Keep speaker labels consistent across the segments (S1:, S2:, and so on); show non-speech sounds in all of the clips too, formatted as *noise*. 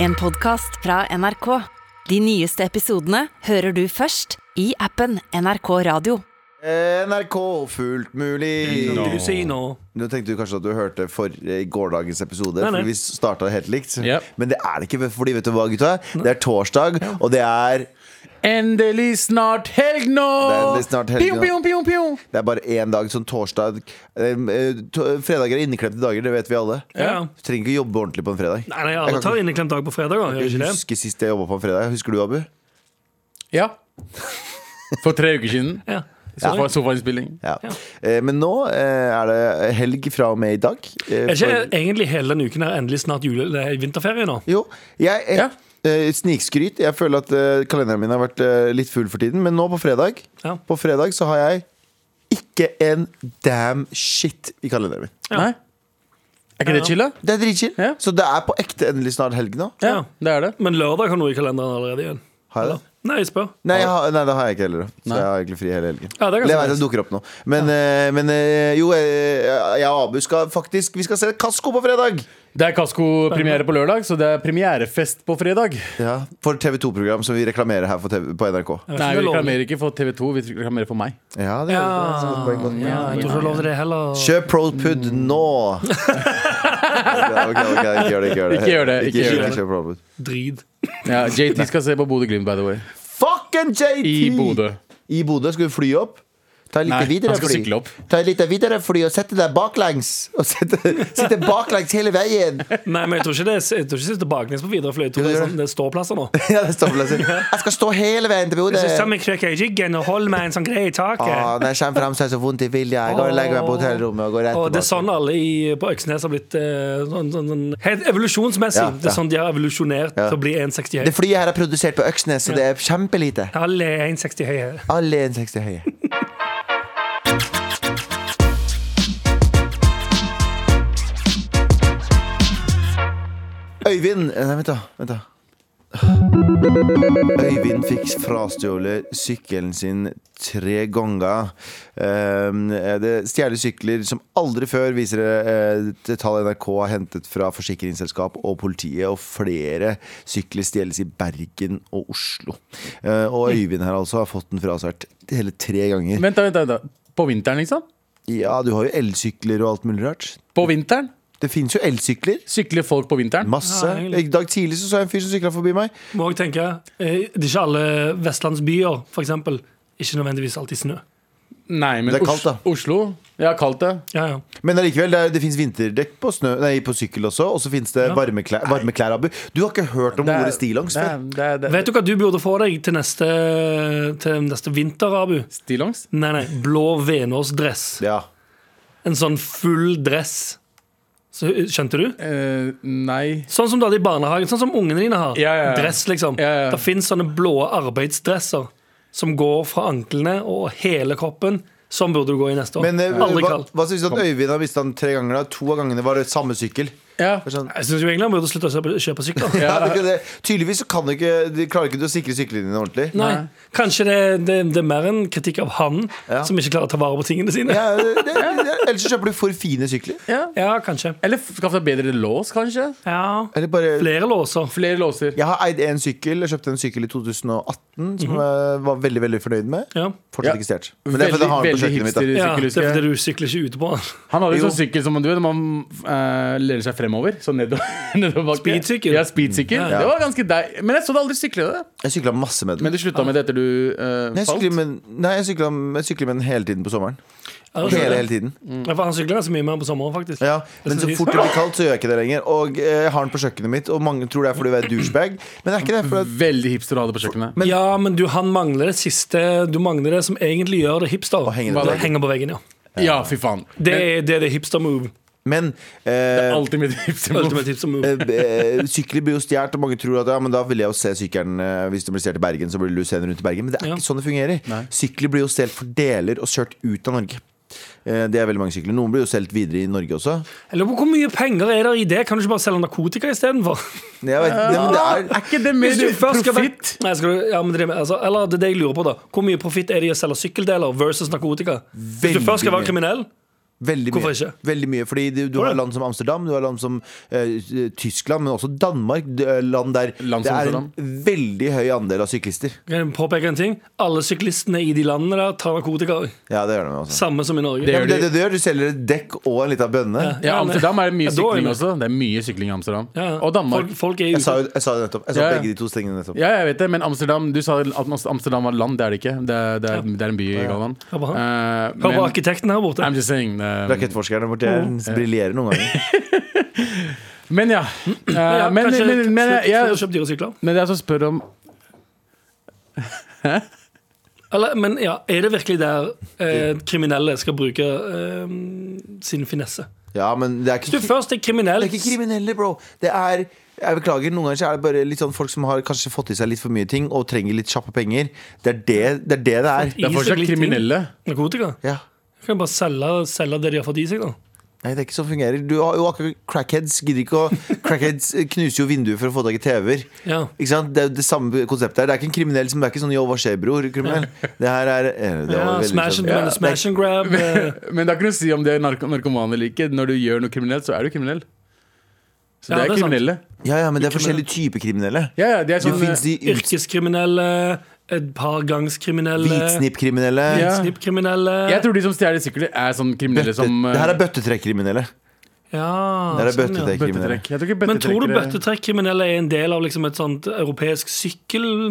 S1: En podcast fra NRK. De nyeste episodene hører du først i appen NRK Radio.
S2: NRK fullt mulig.
S3: Don't you see nå?
S2: Nå tenkte du kanskje at du hørte for eh, i gårsdagens episode,
S3: Nei, nei.
S2: for vi starta helt likt.
S4: Ja.
S2: Men det er det ikke, fordi vet du hva, gutta? Det er torsdag, og det er
S4: Endelig snart helg nå!
S2: Det er endelig snart helg nå.
S4: Pjong, pjong, pjong, pjong.
S2: Det er bare én dag, sånn torsdag eh, eh, to- Fredager er inneklemte dager, det vet vi alle.
S3: Ja.
S2: Du trenger ikke jobbe ordentlig på en fredag.
S3: Nei, nei,
S2: Jeg
S3: alle
S2: kan
S3: tar
S2: ikke-
S3: inneklemt dag på fredag. da, Gjør
S2: Jeg
S3: ikke det?
S2: husker sist jeg jobba på en fredag. Husker du, Abu?
S4: Ja. *laughs* For tre uker siden.
S3: Ja.
S4: Så var det sofainnspilling.
S2: Ja. Eh, Men nå eh, er det helg fra og med i dag. eh,
S3: Er ikke
S2: for-
S3: egentlig hele denne uken her endelig snart jule, det er vinterferie nå?
S2: Jo, jeg eh,
S4: Ja.
S2: eh, Snikskryt. Jeg føler at eh, kalenderen min har vært eh, litt full for tiden, men nå på fredag
S3: Ja.
S2: På fredag så har jeg ikke en damn shit i kalenderen min.
S3: Ja.
S4: Nei? Er ikke det chill, da?
S2: Det er dritchill.
S4: Ja.
S2: Så det er på ekte endelig snart helg nå.
S4: Ja,
S3: Ja.
S4: det er det.
S3: Men lørdag har noe i kalenderen allerede igjen.
S2: Har jeg det?
S3: Nei, jeg spør.
S2: Nei, jeg har, nei, det har jeg ikke heller. da. Så
S4: Nei.
S2: jeg har egentlig fri hele helgen.
S3: Ja, det er
S2: Eller
S3: ganske
S2: jeg vet det
S3: nice.
S2: dukker opp nå. Men, eh, men eh, jo, eh, jeg og Abu skal faktisk Vi skal se Kasko på fredag!
S4: Det er Kasko-premiere på lørdag, så det er premierefest på fredag.
S2: Ja, For TV2-program som vi reklamerer her for TV, på NRK.
S3: Jeg
S4: Nei,
S3: vet ikke om
S4: vi
S3: det er lov.
S4: reklamerer ikke for TV2, vi reklamerer for meg.
S2: Ja, det er, det er et poeng, godt poeng.
S3: Ja, jeg tror ikke det er lov til det heller.
S2: Kjøp ProPud nå! Ok, ok, ok, ikke gjør det. Ikke gjør det.
S4: Ikke gjør det, ikke
S2: Ikke
S4: gjør
S2: kjøp-
S4: det.
S2: kjøp ProPud. *laughs*
S3: Drit.
S4: Ja, JT skal se på Bodø-Glimt, by the way.
S2: Fucking JT!
S4: I Bodø.
S2: I Bodø? Skal du fly opp? Ta litt
S4: Nei,
S2: videre
S4: han skal
S2: fly.
S4: sykle opp.
S2: Ta litt videre fly og sette deg baklengs. Og sette, sitte baklengs hele veien. *laughs*
S3: Nei, men jeg tror ikke det er- jeg tror ikke det er baklengs på Widerøe, for jeg tror det er sånn- det er ståplasser
S2: *laughs*
S3: nå.
S2: Ja, det står på plassen. Jeg skal stå hele veien til Bodø.
S3: Så sammen krøkker jeg ryggen og holder meg en sånn greie i
S2: Ah,
S3: taket.
S2: når jeg kommer fram, så er det så vondt i vilja. Jeg går og legger meg på hotellrommet og går rett
S3: Og det er
S2: tilbake.
S3: sånn alle i, på Øksnes har blitt eh, sånn, sånn, sånn, Helt evolusjonsmessig.
S2: Ja,
S3: Det er
S2: ja.
S3: sånn de har evolusjonert
S2: Ja.
S3: til å bli 1,60 høy.
S2: Det flyet her er produsert på Øksnes, så det er kjempelite.
S3: Alle er 1,60 høye.
S2: Alle E er 1,60 høye. Øyvind eh, Nei, vent, da. Vent da. Øyvind fikk frastjålet sykkelen sin tre ganger. Ehm, Det stjeler sykler som aldri før, viser eh, det tall NRK har hentet fra forsikringsselskap og politiet. Og flere sykler stjeles i Bergen og Oslo. Eh, Og Øyvind her altså har fått den frasvært hele tre ganger.
S4: Vent, da, vent, da, vent. da. På vinteren, liksom?
S2: Ja, du har jo elsykler og alt mulig rart.
S4: På vinteren?
S2: Det finnes jo elsykler.
S4: Sykler folk på vinteren?
S2: Masse.
S3: Ja, egentlig.
S2: I dag tidlig så, så jeg en fyr som sykla forbi meg.
S3: Må jeg tenke, eh, Det er ikke alle vestlandsbyer, for eksempel Ikke nødvendigvis alltid snø.
S4: Nei, men
S2: Det er kaldt, da.
S4: Os- Oslo? Ja, kaldt det.
S3: Ja, ja.
S2: Men allikevel, det, er- det fins vinterdekk på, snø, nei, på sykkel også, og så fins det
S3: Ja.
S2: varmeklær, varmeklær, Abu. Du har ikke hørt om
S4: Det er-
S2: ordet stillongs
S4: det er-
S2: før?
S4: det er- det er-
S3: Vet du hva du burde få deg til neste, til neste vinter, Abu?
S4: Stillongs?
S3: Nei, nei, Blå Venås-dress.
S2: Ja.
S3: En sånn full dress. Så, skjønte du?
S4: Eh, nei.
S3: Sånn som du hadde i barnehagen. Sånn som ungene dine har.
S4: Ja, ja, ja.
S3: Dress, liksom.
S4: Ja, ja.
S3: Det fins sånne blå arbeidsdresser som går fra anklene og hele kroppen. Sånn burde du gå i neste år.
S2: Men eh,
S3: Aldri
S2: hva,
S3: kald.
S2: hva syns du at Øyvind har mista den tre ganger? da? To av gangene var det samme sykkel.
S4: Ja.
S2: Det er Sånn,
S3: Jeg syns egentlig han burde slutte å kjøpe, kjøpe sykler.
S2: ja, det *laughs* er ikke det. Tydeligvis så kan du ikke, de klarer ikke du å sikre syklene dine ordentlig.
S3: Nei.
S4: Nei.
S3: Kanskje det, det, det er mer en kritikk av han
S2: Ja.
S3: som ikke klarer å ta vare på tingene sine.
S2: *laughs*
S3: Ja,
S2: Ja, det, det, ellers så kjøper du for fine sykler.
S4: ja.
S3: kanskje.
S4: Eller skaff deg bedre lås, kanskje?
S3: Ja.
S2: Eller bare
S3: Flere låser.
S4: Flere låser.
S2: jeg har eid en sykkel. Jeg kjøpte en sykkel i 2018 som jeg var veldig veldig fornøyd med.
S3: Ja.
S2: Fortsatt
S4: Mhm. Ja.
S2: ikke stjålet. Men det er fordi jeg har den på
S4: veldig
S2: kjøkkenet mitt. da.
S4: hipster
S3: ja,
S4: sykkel,
S3: det er
S4: husker
S3: fordi
S4: jeg.
S3: du sykler ikke ute på den.
S4: Han hadde
S2: Jo.
S4: jo sånn sykkel som du vet, man eh, lener seg fremover. Sånn nedover. *laughs* nedover bakke.
S3: Speedsykkel.
S4: Ja, speedsykkel.
S3: Ja.
S4: Det var ganske deg. Men jeg så deg aldri sykle det.
S2: Jeg sykla masse med den.
S4: Men du slutta med det etter du eh,
S2: Nei, jeg
S4: falt.
S2: sykler med, nei, jeg sykler med, jeg sykler med den hele tiden på sommeren.
S3: Ja, det Mm.
S2: Hele,
S3: skjønner
S2: hele
S3: jeg.
S2: tiden
S3: Ja, for han sykler ganske mye mer på sommeren, faktisk.
S2: Ja, men så fort det blir kaldt, så gjør jeg ikke det lenger. Og eh, jeg har den på kjøkkenet mitt, og mange tror det er fordi jeg er douchebag. Men det er ikke det. For at,
S4: Veldig hipster å ha det på kjøkkenet.
S3: Men, ja, men du, han mangler det siste Du mangler det som egentlig gjør det hipster.
S2: Å henge det på
S3: Det
S2: veggen.
S3: henger på veggen, ja.
S4: Ja, fy faen.
S3: Det er det, er det hipster move.
S2: men eh,
S4: Alltid mitt hipster.
S3: Ultimate hipster move.
S2: eh, eh, sykler blir jo stjålet, og mange tror at ja, men da vil jeg jo se sykkelen eh, hvis den blir stjålet i Bergen. Så blir du senere rundt i Bergen Men det er
S3: Ja.
S2: ikke sånn det fungerer. Sykler blir jo stjålet for deler og kjørt ut av Norge. Eh, det er veldig mange sykler. Noen blir jo solgt videre i Norge også.
S3: Jeg lurer på hvor mye penger er der i det? Kan du ikke bare selge narkotika istedenfor?
S2: Jeg vet, nei, *laughs* men det er,
S4: Er ikke det
S3: Hvis
S4: mer
S3: du først skal vekk-
S4: profitt?
S3: Nei, skal du, ja, men det, er- altså, eller det er det jeg lurer på, da. Hvor mye profitt er det i å selge sykkeldeler versus narkotika? Hvis du
S2: Veldig
S3: først skal
S2: mye.
S3: være kriminell,
S2: Veldig
S3: Hvorfor
S2: mye.
S3: ikke?
S2: Veldig mye, fordi du, du har land som Amsterdam, du har land som eh, Tyskland, men også Danmark. d- eh, Land der
S4: Land
S2: det
S4: som
S2: er
S4: Amsterdam.
S2: en veldig høy andel av syklister.
S3: Kan jeg påpeke en ting? Alle syklistene i de landene der tar narkotika. også.
S2: Ja, det gjør de også.
S3: Samme som i Norge.
S4: Det
S2: Ja, men
S4: gjør
S2: det, det du gjør, du selger et dekk og en liten bønne.
S4: Ja,
S3: Ja, men-
S4: Amsterdam er det mye
S3: Ja, da er
S4: sykling
S3: det-
S4: også. Det er mye sykling i Amsterdam.
S3: Ja, ja.
S4: Og Danmark.
S3: Folk, folk er
S2: Jeg sa
S3: ute.
S2: jo jeg sa jo nettopp Jeg sa
S4: Ja, ja.
S2: begge de to tingene nettopp.
S4: Ja, jeg vet det, men Amsterdam Du sa at Amsterdam var et land, det er det ikke. Det er, det er, det er en by i Galvan.
S3: Hør på han.
S4: Eh,
S3: Hør på
S4: men-
S3: arkitekten her borte.
S4: I'm just saying. eh,
S2: Rakettforskerne borti her briljerer noen ganger.
S4: men ja.
S3: Ja,
S4: Eh, men,
S3: kanskje
S4: men, men,
S3: slutt,
S4: jeg-
S3: slutt å kjøpe dyre sykler.
S4: men det er så spør om
S3: Eller, men ja, er det virkelig der eh, kriminelle skal bruke eh, sin finesse?
S2: Ja, men det er
S3: Hvis
S2: ikke
S3: du først er kriminell,
S2: Det er ikke kriminelle, bro. Det er jeg beklager, Noen ganger så er det bare litt sånn folk som har kanskje fått i seg litt for mye ting og trenger litt kjappe penger. Det er det det er. Det det er.
S4: Det er fortsatt kriminelle.
S3: narkotika,
S2: Ja.
S3: kan du bare selge, selge det de har fått i seg, da.
S2: Nei, det er ikke sånn det fungerer. Du har jo akkurat crackheads gidder ikke å *laughs* Crackheads eh, knuser jo vinduer for å få tak i TV-er.
S3: Ja.
S2: Ikke sant? Det er jo det samme konseptet her. Det er ikke en kriminell som det er ikke sånn Yo, hva skjer, bror? Kriminell. Det her er eh, det
S3: Ja,
S2: var veldig
S3: smash, and,
S2: sånn-
S3: men, smash
S2: *laughs*
S3: and grab. eh,
S4: Men det er ikke noe å si om det er narko narkoman eller ikke. Når du gjør noe kriminelt, så er du kriminell. Så
S3: Ja,
S4: det er,
S3: det er sant.
S4: kriminelle.
S2: Ja, ja, men det er forskjellige typer kriminelle.
S4: Ja, ja, det er
S2: Det
S4: sånn
S2: fins de ut-
S3: yrkeskriminelle, et par gangskriminelle,
S2: hvitsnippkriminelle.
S4: Ja.
S3: hvitsnippkriminelle.
S4: Jeg tror de som stjeler sykler, er sånn kriminelle
S2: Bøtte,
S4: som eh,
S2: det her er bøttetrekkriminelle.
S3: Ja,
S2: Det her er
S3: sånn, ja.
S2: bøttetrekkriminelle.
S4: bøttetrekk. Jeg tror ikke
S3: Men tror du
S4: bøttetrekkere-
S3: bøttetrekkriminelle er en del av liksom et sånt europeisk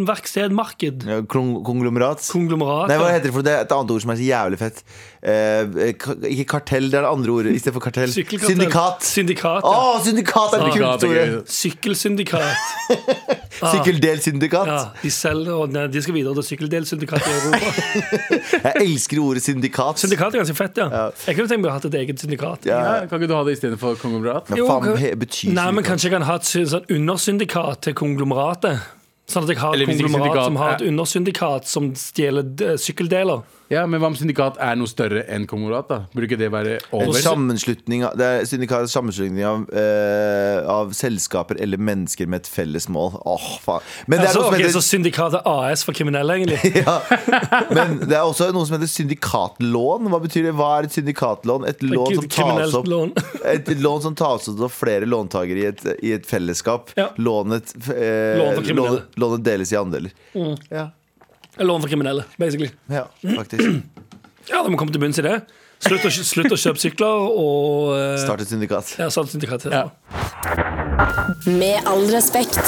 S3: sykkelverkstedmarked?
S2: Ja, klong- Konglomerat.
S3: Konglomerat?
S2: Nei, hva
S3: ja.
S2: heter det for det er et annet ord som er så jævlig fett. Eh, ka- ikke kartell, det er det andre ordet istedenfor kartell.
S3: Sykkelkartell.
S2: Syndikat.
S3: Syndikat,
S2: Å,
S3: ja.
S2: syndikat er det
S4: Syndikat
S2: kuleste
S4: er
S2: ordet!
S4: gøy.
S2: *laughs*
S3: Sykkelsyndikat.
S2: Sykkeldelssyndikat.
S3: Ah. Ja, de selger og nei, De skal videre til sykkeldelsyndikat i Europa.
S2: *laughs* Jeg elsker ordet syndikat.
S3: Syndikat er ganske fett, ja. Jeg kunne tenkt meg å ha hatt et eget syndikat.
S2: Ja,
S4: ja, Kan ikke du ha det istedenfor konglomerat?
S2: men
S3: Jo,
S2: faen,
S3: kan-
S2: he- betyr
S3: Nei, men
S2: syndikat?
S3: Kanskje jeg kan ha et sy- sånn undersyndikat til konglomeratet. Sånn at jeg har
S4: Eller
S3: et
S4: hvis ikke
S3: konglomerat
S4: syndikat
S3: som har et
S4: er-
S3: undersyndikat som stjeler eh, sykkeldeler.
S4: Ja, Men hva om syndikat er noe større enn konglomerat? da? Burde ikke det være
S2: En
S4: over?
S2: sammenslutning av, det er syndikat er sammenslutning av, eh, av selskaper eller mennesker med et felles mål. Åh, faen. Men det, er
S3: Altså,
S2: noe som
S3: ok,
S2: heter,
S3: Så syndikatet AS for
S2: *laughs*
S3: kriminelle, egentlig.
S2: men det er også noe som heter syndikatlån. Hva betyr det? Hva er et syndikatlån? Et lån som tas
S3: Kriminelt
S2: opp
S3: lån.
S2: *laughs* Et lån som tas ut av flere låntakere i et, i et fellesskap.
S3: Ja.
S2: Lånet, eh,
S3: Lån for kriminelle. Mm.
S2: lånet, lånet deles i andeler. Ja.
S3: Lån for kriminelle, basically.
S2: ja, faktisk.
S3: Ja, da må vi komme til bunns i det. Slutt å, slutt å kjøpe sykler og eh,
S2: Start et syndikat.
S3: ja, start syndikat.
S4: Ja.
S1: Med all respekt.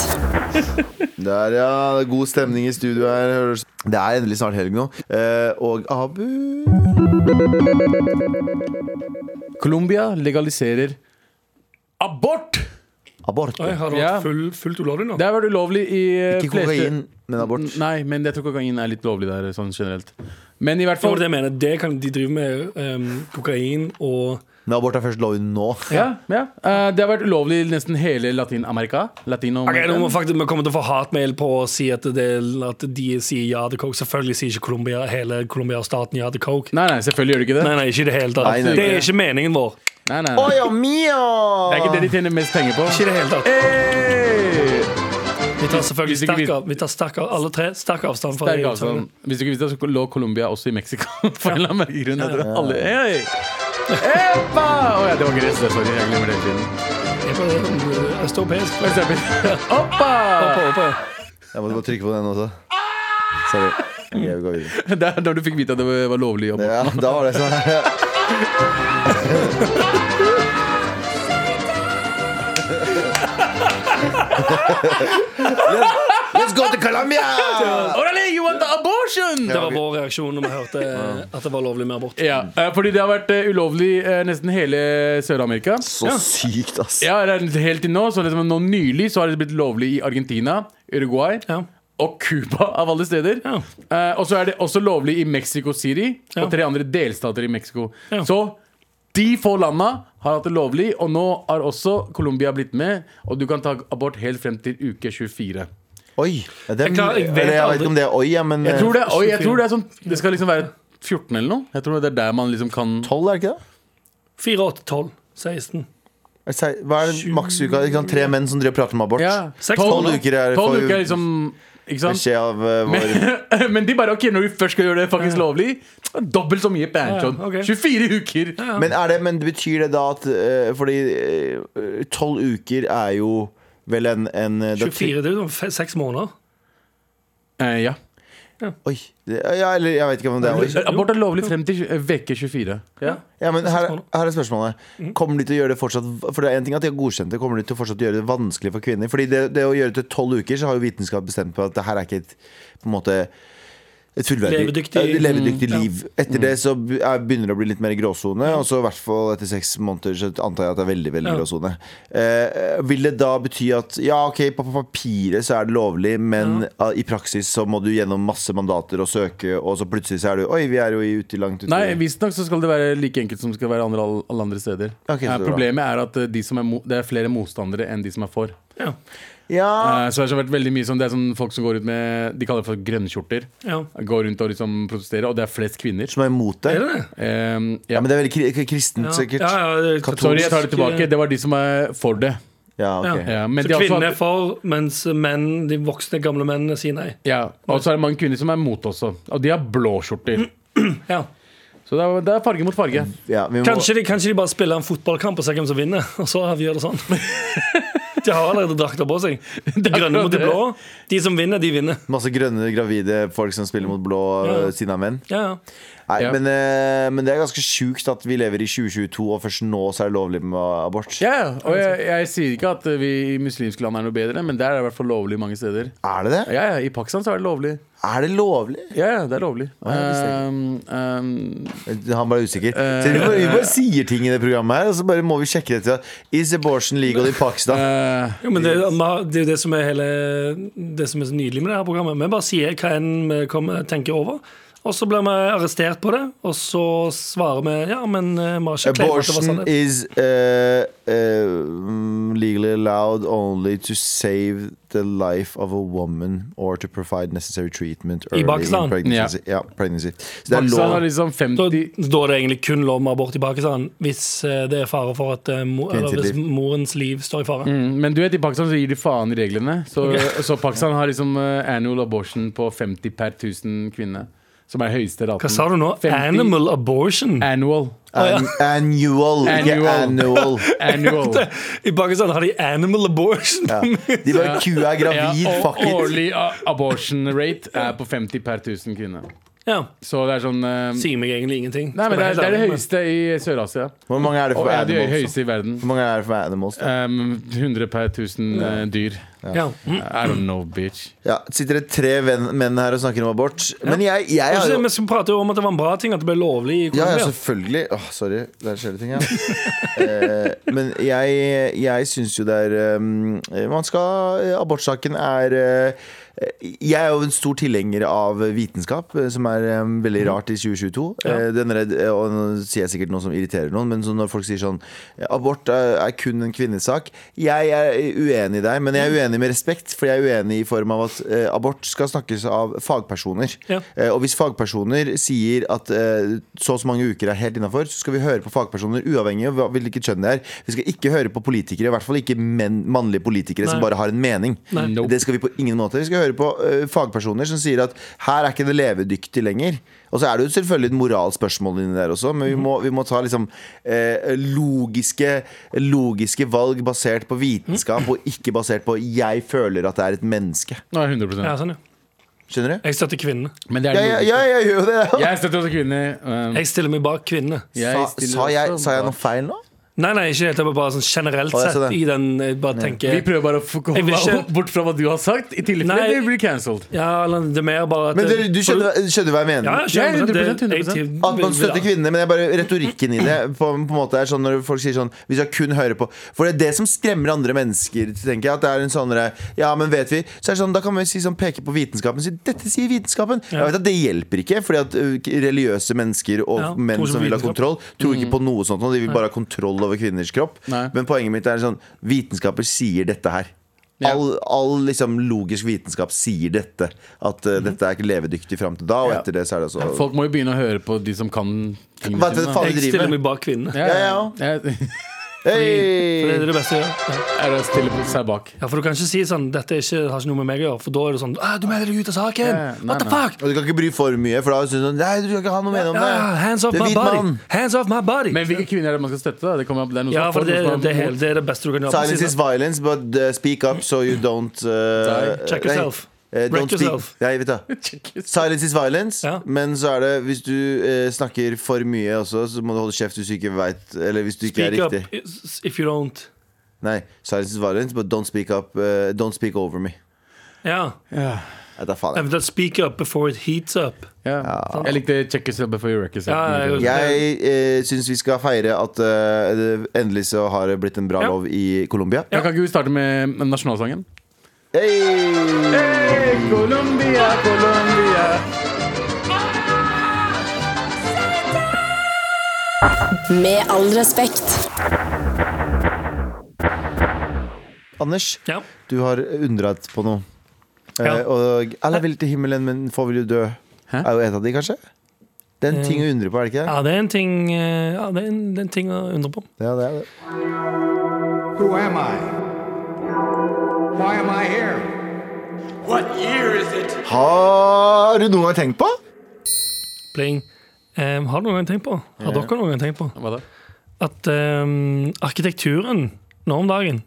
S2: Der, ja. det er God stemning i studio her. hører du. Det er endelig snart helg nå. Eh, og Abu
S4: Colombia legaliserer abort!
S2: Abort.
S3: Oi, har du
S4: Ja.
S3: vært full, fullt ulovlig nå?
S4: Det har vært ulovlig i eh,
S2: Ikke
S4: fleste-
S2: kokain, men abort.
S4: Nei, men jeg tror kokain er litt lovlig der sånn generelt. Men i hvert
S3: For
S4: fall
S3: det jeg mener, det kan de drive med ehm, kokain og
S2: Men abort er først lovlig
S4: *laughs*
S2: nå.
S4: Ja, ja. Eh, det har vært ulovlig i nesten hele Latin-Amerika. Latino
S3: Ok, nå må vi faktisk vi kommer til å få hatmail på å si at, det, at de sier ja til coke. Selvfølgelig sier ikke Colombia, hele Colombia-staten ja til coke.
S4: Nei, nei, selvfølgelig gjør det ikke det.
S3: Nei, nei, ikke i det hele tatt.
S2: Nei, nei, nei.
S3: Det er ikke meningen vår.
S4: Nei, nei, nei.
S2: Oya mio!
S4: Det er ikke det de tjener mest penger på.
S3: Ikke i det hele tatt.
S4: Hey!
S3: Vi tar selvfølgelig
S4: Hvis ikke vi-
S3: sterk, av, vi tar sterk av, alle tre sterk avstand fra
S4: Sterk
S3: EU.
S4: avstand. Hvis du ikke visste det, så lå Colombia også i Mexico. For en eller annen merkelig grunn. Jeg tror alle hey! Epa! Å ja, det var gress, det. Sorry, jeg glemmer det hele tiden.
S3: Det er bare Eh, Østeuropeisk.
S4: Hva er det? Oppa!
S3: Oppe, oppe.
S2: Jeg måtte bare trykke på den også. Sorry. Ok, vi går videre.
S4: Det er da du fikk vite at det var lovlig jobb.
S2: Ja, da var det
S4: *laughs*
S2: sånn. let's, let's go to Colombia!
S4: Ah. Orale, you want the abortion!
S3: Det var vår reaksjon når vi hørte eh, at det var lovlig med abort.
S4: Ja, eh, fordi det har vært eh, ulovlig eh, nesten hele Sør-Amerika.
S2: Så sykt, ass.
S4: Ja, det er helt til nå, så liksom, nå nylig så har det blitt lovlig i Argentina, Uruguay
S3: Ja.
S4: og Cuba, av alle steder.
S3: Ja.
S4: Eh, og så er det også lovlig i Mexico City
S3: Ja.
S4: og tre andre delstater i Mexico.
S3: Ja.
S4: Så de få landa har hatt det lovlig, og nå har også Colombia blitt med. Og du kan ta abort helt frem til uke 24.
S2: Oi. Ja, det,
S3: Jeg klarer- jeg
S2: eller,
S3: vet
S2: jeg vet
S3: aldri.
S2: ikke om det er oi, ja, men eh,
S3: Eh,
S4: Jeg tror det, og jeg
S3: 24.
S4: tror det er sånn Det skal liksom være 14 eller noe. Jeg tror det er der man liksom kan
S2: tolv, er det ikke det?
S3: 4, 8, 12, 16.
S2: Er det sei- Hva er det maksuka? Ikke sant? Tre menn som driver og prater om abort.
S4: Ja.
S3: Seks
S4: Tolv-
S2: måneder. uker er-
S4: tolv
S2: får-
S4: uker er liksom Ikke sant?
S2: Beskjed av eh, vår
S4: *laughs* Men, men de bare OK, når vi først skal gjøre det faktisk lovlig, dobbelt så mye pensjon.
S3: Ja, ok.
S4: 24 uker!
S2: *laughs* men, er det, men betyr det da at eh, Fordi eh, tolv uker er jo vel en, en eh, det er tre-
S3: 24 000 om fe- seks måneder.
S4: Eh, ja.
S2: Oi. Det- Ja, eller jeg vet ikke om det er oi.
S4: Abort er lovlig frem til eh, veke 24. Ja.
S2: Ja, men her, her er spørsmålet.
S3: Mhm.
S2: Kommer de til å gjøre det fortsatt For det er en ting at de har godkjent det, kommer de til å fortsatt gjøre det vanskelig for kvinner? Fordi det, det å gjøre det til tolv uker, så har jo vitenskap bestemt på at det her er ikke et på en måte et fullverdig
S3: Levedyktig-
S2: eh, levedyktig
S3: Mm, ja.
S2: liv. Etter det så b- er- begynner det å bli litt mer gråsone, og så i hvert fall etter seks måneder så antar jeg at det er veldig veldig
S3: Ja.
S2: gråsone. Eh, vil det da bety at ja, ok, på på papiret så er det lovlig, men ah, i praksis så må du gjennom masse mandater og søke, og så plutselig så er du Oi, vi er jo i- ute langt ute.
S4: Nei, visstnok så skal det være like enkelt som det skal være andre, alle andre steder.
S2: Ok, så
S4: Eh,
S2: bra.
S4: Problemet er at eh, de som er mo det er flere motstandere enn de som er for.
S3: Ja.
S2: ja.
S4: Eh, så det har vært veldig mye sånn, det er sånn folk som går ut med De kaller det for grønnkjorter.
S3: ja.
S4: Går rundt og liksom protesterer, og det er flest kvinner.
S2: som er imot det.
S3: Er det det?
S4: Eh,
S2: Ja,
S4: ja.
S2: men det er veldig kri- kristent,
S3: Ja.
S2: sikkert.
S3: Ja, ja, det er
S2: Katolsk-
S4: Sorry, jeg tar det tilbake. Det var de som er for det.
S2: Ja, ok.
S4: Ja, men de
S3: så
S4: har også
S3: kvinnene
S4: hatt-
S3: er for, mens menn, de voksne, gamle mennene sier nei.
S4: Ja, Og så er det mange kvinner som er mot også. Og de har blå skjorter.
S3: Ja.
S4: Så det er, det er farge mot farge.
S2: Ja, vi må,
S3: Kanskje, de, kanskje de bare spiller en fotballkamp og ser hvem som vinner, og så avgjør det
S4: *laughs*
S3: sånn. De har allerede drakter på seg. De grønne mot de blå. De som vinner, de vinner.
S2: Masse grønne gravide folk som spiller mot blå
S3: Ja.
S2: øh, siden av menn.
S3: Ja, ja.
S2: Nei,
S4: Ja.
S2: men, eh, men det er ganske sjukt at vi lever i 2022, og først nå så er det lovlig med abort.
S4: Ja, ja, og jeg, jeg sier ikke at vi i muslimske land er noe bedre, men der er det i hvert fall lovlig mange steder.
S2: Er det det?
S4: Ja, ja, I Pakistan så er det lovlig.
S2: Er det lovlig?
S4: Ja, ja, det er lovlig.
S2: det visste jeg
S4: Um, um,
S2: Han bare er usikker.
S4: Eh.
S2: Så vi, bare, vi bare sier ting i det programmet her, og så bare må vi sjekke det til Is abortion legal i Pakistan?
S4: eh,
S3: Jo, men det, det er jo det som er hele Det som er så nydelig med det her programmet. Vi bare sier hva enn vi kommer, tenker over. Og så blir vi arrestert på det, og så svarer vi ja, men eh, vi har ikke claimet at det var
S2: Abortion
S3: sannhet.
S2: is eh, eh, mm, legally allowed only to save the life of a woman or to provide necessary treatment early
S3: Pakistan?
S2: in pregnancy. Ja. pregnancy. Så det er
S4: Pakistan har
S2: lov.
S4: liksom
S3: Da,
S4: 50
S3: da er det egentlig kun lov med abort i Pakistan hvis eh, det er fare for at eh, mo,
S2: Kvinnens
S3: eller hvis
S2: liv.
S3: morens liv står i fare.
S4: Mm, Men du vet, i Pakistan så gir de faen i reglene. Så, så Pakistan har liksom eh, annual abortion på 50 per 1000 kvinner. Som er høyeste raten.
S3: Hva sa du nå?
S4: 50
S3: Animal abortion?
S4: Annual.
S2: An annual, ikke
S4: *laughs* Annual. *laughs*
S2: annual.
S3: *laughs*
S4: Annual.
S3: *laughs* I Pakistan har de animal abortion.
S2: Ja. De bare kua er gravid,
S4: Ja, og
S2: fuck it.
S4: Årlig a- abortion rate er på 50 per 1000 kvinner.
S3: *laughs* Ja.
S4: Så det er sånn eh,
S3: Sier meg egentlig ingenting.
S4: Nei, men det er, det er det
S3: Skal jeg være helt ærlig,
S4: høyeste i Sør-Asia.
S2: Hvor mange er det
S4: Og
S2: for
S4: er det
S2: animals?
S4: høyeste i verden.
S2: Hvor mange er det for animals da?
S4: Um, 100 per 1000 eh, dyr.
S3: men- Ja. Mm.
S4: I don't know, bitch.
S2: Ja, sitter det tre venn, menn her og snakker om abort? Men jeg, jeg
S3: Og
S2: har
S3: så-
S2: jo
S3: Vi skal prate jo om at det var en bra ting at det ble lovlig i
S2: Ja, ja,
S3: Colombia.
S2: selvfølgelig. Åh, sorry, der skjer det ting, ja. *laughs* eh, men jeg, jeg syns jo det er um, Man skal Abortsaken er eh, Jeg er jo en stor tilhenger av vitenskap, eh, som er eh, veldig rart i 2022.
S3: Mm. Ja.
S2: Eh, den er, eh, og nå sier jeg sikkert noe som irriterer noen, men så når folk sier sånn Abort er, er kun en kvinnesak. Jeg er uenig i deg, men jeg er uenig med respekt, for jeg er uenig i form av at eh, abort skal snakkes av fagpersoner.
S3: Ja.
S2: Eh, Og hvis fagpersoner sier at eh, så og så mange uker er helt innafor, så skal vi høre på fagpersoner uavhengig av hva- hvilket kjønn det er. Vi skal ikke høre på politikere, i hvert fall ikke menn, mannlige politikere som
S3: Nei.
S2: bare har en mening.
S3: Nei.
S4: Nope.
S2: Det skal vi på ingen måte. Vi skal høre på eh, fagpersoner som sier at her er ikke det levedyktig lenger. Og så er det jo selvfølgelig et moralspørsmål inni der også, men vi må, vi må ta liksom eh, logiske, logiske valg basert på vitenskap, og ikke basert på 'jeg føler at det er et menneske'.
S4: Nå er jeg 100
S3: Ja, sånn, ja.
S2: Skjønner du?
S3: Jeg støtter kvinnene.
S4: Men det er
S2: Ja,
S4: det
S2: ja,
S4: logiske.
S2: ja, jeg gjør jo det.
S4: Jeg støtter også kvinner. Um,
S3: Jeg stiller meg bak kvinnene.
S4: jeg
S2: sa,
S4: stiller
S2: sa, jeg,
S4: også
S2: sa jeg
S4: bak-
S2: noe feil nå?
S3: Nei, nei, ikke helt. Jeg bare sånn generelt
S2: Å, jeg ser
S3: sett
S2: det.
S3: i den jeg Bare
S4: Vi
S3: tenker
S4: prøver bare å få komme
S3: Jeg vil ikke-
S4: opp- bort fra hva du har sagt, i tilfelle
S3: Nei.
S4: det blir cancelled.
S3: Ja, eller det er mer bare at
S2: Men du, du skjønner, skjønner hva jeg mener?
S3: Ja, jeg skjønner det.
S4: 100%,
S3: Det-
S4: 100%.
S3: jeg-
S2: At man støtter kvinner, men det er bare retorikken
S3: *clears throat*
S2: i det. På, på en måte er sånn Når folk sier sånn Vi skal kun høre på For det er det som skremmer andre mennesker. Tenker jeg At det er en sånn derre, Ja, men vet vi Så er det sånn Da kan man si sånn peke på vitenskapen og si dette sier vitenskapen. Jeg vet at Det hjelper ikke, fordi at ø, religiøse mennesker og
S3: Ja,
S2: menn
S3: tror ikke
S2: som
S3: på
S2: vil ha
S3: vitenskap. Mm.
S2: kontroll, tror ikke på noe sånt. Og de vil bare ha kontroll over kvinners kropp.
S4: Nei.
S2: Men poenget mitt er sånn Vitenskaper sier dette her.
S4: Ja.
S2: All, all liksom logisk vitenskap sier dette. At ø,
S3: Mm-hmm.
S2: dette er ikke levedyktig fram til da, og
S4: Ja.
S2: etter det så er det altså
S4: Folk må jo begynne å høre på de som kan tingene
S2: Hva er det
S4: sine, da.
S2: faen?
S3: Jeg
S2: driver.
S3: stiller meg bak kvinnene.
S4: Ja,
S2: Ja, ja,
S4: Jeg,
S2: Hey!
S3: For det er det beste å gjøre. Ja.
S4: Er det å stille seg bak?
S3: Ja, For du kan ikke si sånn Dette er ikke, har ikke noe med meg å gjøre. For da er det sånn «Ah, Du melder deg ut av saken!
S4: Ja, ja. Nei,
S3: What the
S4: nei.
S3: fuck?
S2: Og du kan ikke bry for mye, for da synes du Nei, du kan ikke ha noe mening om det.
S3: Ah, hands off
S2: Du Sånn er
S3: my
S2: hvit
S3: body!
S2: mann.
S3: Hands off my body!
S4: Men hvilke kvinner er det man skal støtte? da? Det, kommer, det er noen som
S3: ja,
S4: er
S3: for
S4: noen
S3: det,
S4: som er
S3: det, er
S4: mot.
S3: helt- det er det beste du kan gjøre.
S2: Silence
S3: Precis,
S2: is violence, but uh, speak up so you don't uh,
S4: Die.
S3: Check
S2: nei,
S3: yourself.
S2: eh, don't
S3: Wreck
S2: speak-
S3: yourself.
S2: Nei, vet du. *laughs* Silence is violence,
S3: Ja.
S2: men så er det hvis du eh, snakker for mye også, så må du holde kjeft hvis du ikke vet Eller hvis du ikke
S3: Speak
S2: er
S3: up
S2: riktig.
S3: is- if you don't
S2: Nei, silence is violence, but don't speak up eh, Don't speak over me.
S3: Ja.
S4: Ja.
S2: Nei, da faen. jeg.
S3: Eventuelt speak up before it heats up.
S4: Ja. Jeg likte Check Yourself Before You Wreck Yourself.
S3: Ja, ja, ja.
S2: Jeg eh, syns vi skal feire at eh, det- endelig så har det blitt en bra
S3: Ja.
S2: lov i Colombia.
S4: Ja, Kan ikke vi starte med nasjonalsangen?
S2: Hey!
S4: Colombia, Colombia
S5: Med all respekt.
S2: Anders,
S3: Ja.
S2: du har undret på noe. Eh,
S3: Ja.
S2: og alle vil til himmelen, men få vil jo dø.
S4: Hæ?
S2: Er jo et av de, kanskje? Det er en ting å undre på, er det ikke det?
S3: ja, det er en ting eh, Ja, det er en, det er en ting å undre på.
S2: Ja, det er det.
S6: Who am I? Why am I here?
S2: Har du noen gang tenkt på?
S3: Bling. Eh, har du noen gang tenkt på, har dere noen gang tenkt på,
S4: Hva da?
S3: at eh, arkitekturen nå om dagen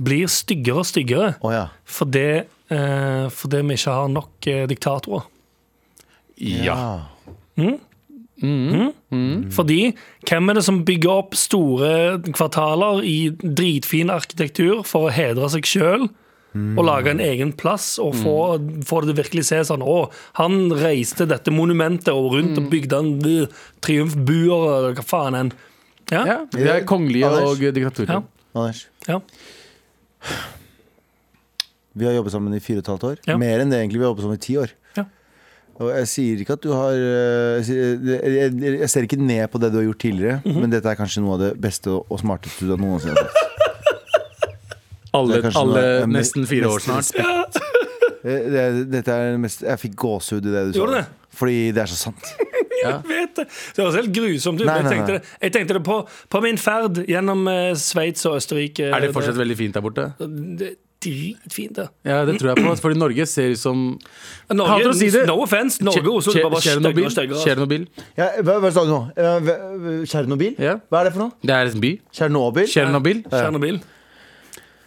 S3: blir styggere og styggere
S2: Å ja.
S3: fordi, eh, fordi vi ikke har nok eh, diktatorer?
S4: Ja. Mm.
S3: Fordi hvem er det som bygger opp store kvartaler i dritfin arkitektur for å hedre seg sjøl?
S4: Mm.
S3: Og lage en egen plass og få, få det til å virkelig se sånn Å, han reiste dette monumentet og rundt
S4: Mm.
S3: og bygde en øh, triumfbuer eller hva faen enn. Ja?
S4: Ja, det er kongelige
S2: Anders?
S4: og diktaturer.
S3: Ja.
S2: Anders,
S3: Ja.
S2: vi har jobbet sammen i fire og et halvt år.
S3: Ja.
S2: Mer enn det egentlig. Vi har jobbet sammen i ti år.
S3: Ja.
S2: Og jeg sier ikke at du har eh, Jeg, sier- jeg, jeg ser ikke ned på det du har gjort tidligere, men dette er kanskje noe av det beste og og smarteste du har noensinne har sagt.
S4: Alle,
S2: Det er kanskje
S4: alle
S2: noe- ja, men-
S4: nesten fire år
S2: nesten
S4: snart.
S2: Eh, det- Dette er det mest Jeg fikk gåsehud i det du sa.
S3: Gjorde du det?
S2: Fordi det er så sant.
S3: *laughs* vet det. Det høres helt grusomt ut.
S2: Nei,
S3: men
S2: nei,
S3: Jeg tenkte
S2: nei.
S3: det, jeg tenkte det på, på min ferd gjennom eh, Sveits og Østerrike.
S4: Er det fortsatt veldig fint der borte?
S3: Det er Dritfint, det.
S4: Ja, det tror jeg på. Fordi Norge ser ut som Hater
S3: Norge,
S4: å si det.
S3: no offense, Norge og Oslo det er bare styggere
S4: Tsjernobyl.
S3: og styggere. altså.
S4: Tsjernobyl.
S2: Ja, hva, hva sa du nå? Eh, hva- Tsjernobyl?
S4: Ja.
S2: Hva er det for noe?
S4: Det er en by.
S2: Tsjernobyl?
S4: Tsjernobyl.
S3: Tsjernobyl.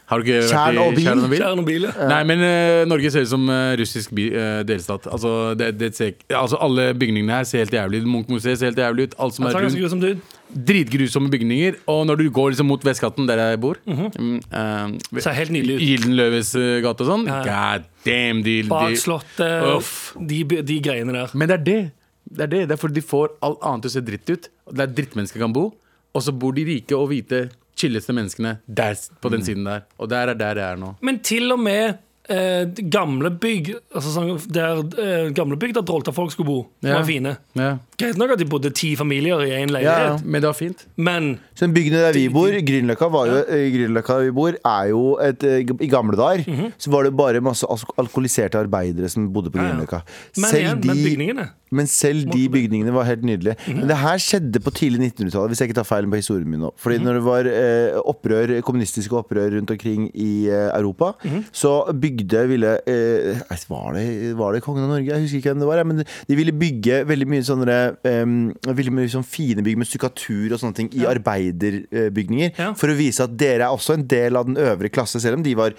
S4: Har du ikke vært
S2: Tsjernobyl?
S4: i Tsjernobyl?
S3: Tsjernobyl, ja.
S4: Nei, men eh, Norge ser ut som eh, russisk by, eh, delstat. Altså, det, det ser, ikke- altså, alle bygningene her ser helt jævlig ut. Munchmuseet ser helt jævlig ut. Alt som
S3: Han
S4: er
S3: sa ganske
S4: rundt.
S3: grusomt ut.
S4: Dritgrusomme bygninger. Og når du går liksom mot Vestgaten, der jeg bor
S3: Mhm.
S4: mm, eh,
S3: Ser helt nydelig ut.
S4: Gyldenløves eh, gate og sånn.
S3: Ja,
S4: God damn, de,
S3: Bak
S4: de
S3: Slottet,
S4: Uff.
S3: de, by- de greiene der.
S4: Men det er det. Det er det, det er fordi de får alt annet til å se dritt ut. Det er drittmennesker kan bo, og så bor de rike og hvite, chilleste menneskene der, på
S3: Mm.
S4: den siden der. Og der er der jeg er nå.
S3: Men til og med eh, gamle bygg altså sånn der, eh, gamle bygg der Drolta-folk skulle bo,
S4: Ja.
S3: var fine. Greit nok at de bodde ti familier i én
S2: Ja,
S3: leilighet,
S4: Men det var fint.
S3: men
S2: Så den bygden der vi bor, Grünerløkka, var jo- eh, Grünerløkka vi bor, er jo et eh, I gamle dager så var det bare masse alko- alkoholiserte arbeidere som bodde på
S3: Mhm. Ja,
S2: Grünerløkka.
S3: ja. Men igjen, men bygningene.
S2: Men selv de
S3: Måtte bli.
S2: bygningene var helt nydelige. Men det her skjedde på tidlig 1900-tallet, hvis jeg ikke tar feil på historien min nå. Fordi når det var eh, opprør, kommunistiske opprør rundt omkring i eh, Europa, så bygde ville eh, nei, var, det, var det kongen av Norge? Jeg husker ikke hvem det var. ja, Men de ville bygge veldig mye sånne eh, veldig mye sånn fine bygg med stukkatur og sånne ting i arbeiderbygninger.
S3: Ja.
S2: For å vise at dere er også en del av den øvre klasse, selv om de var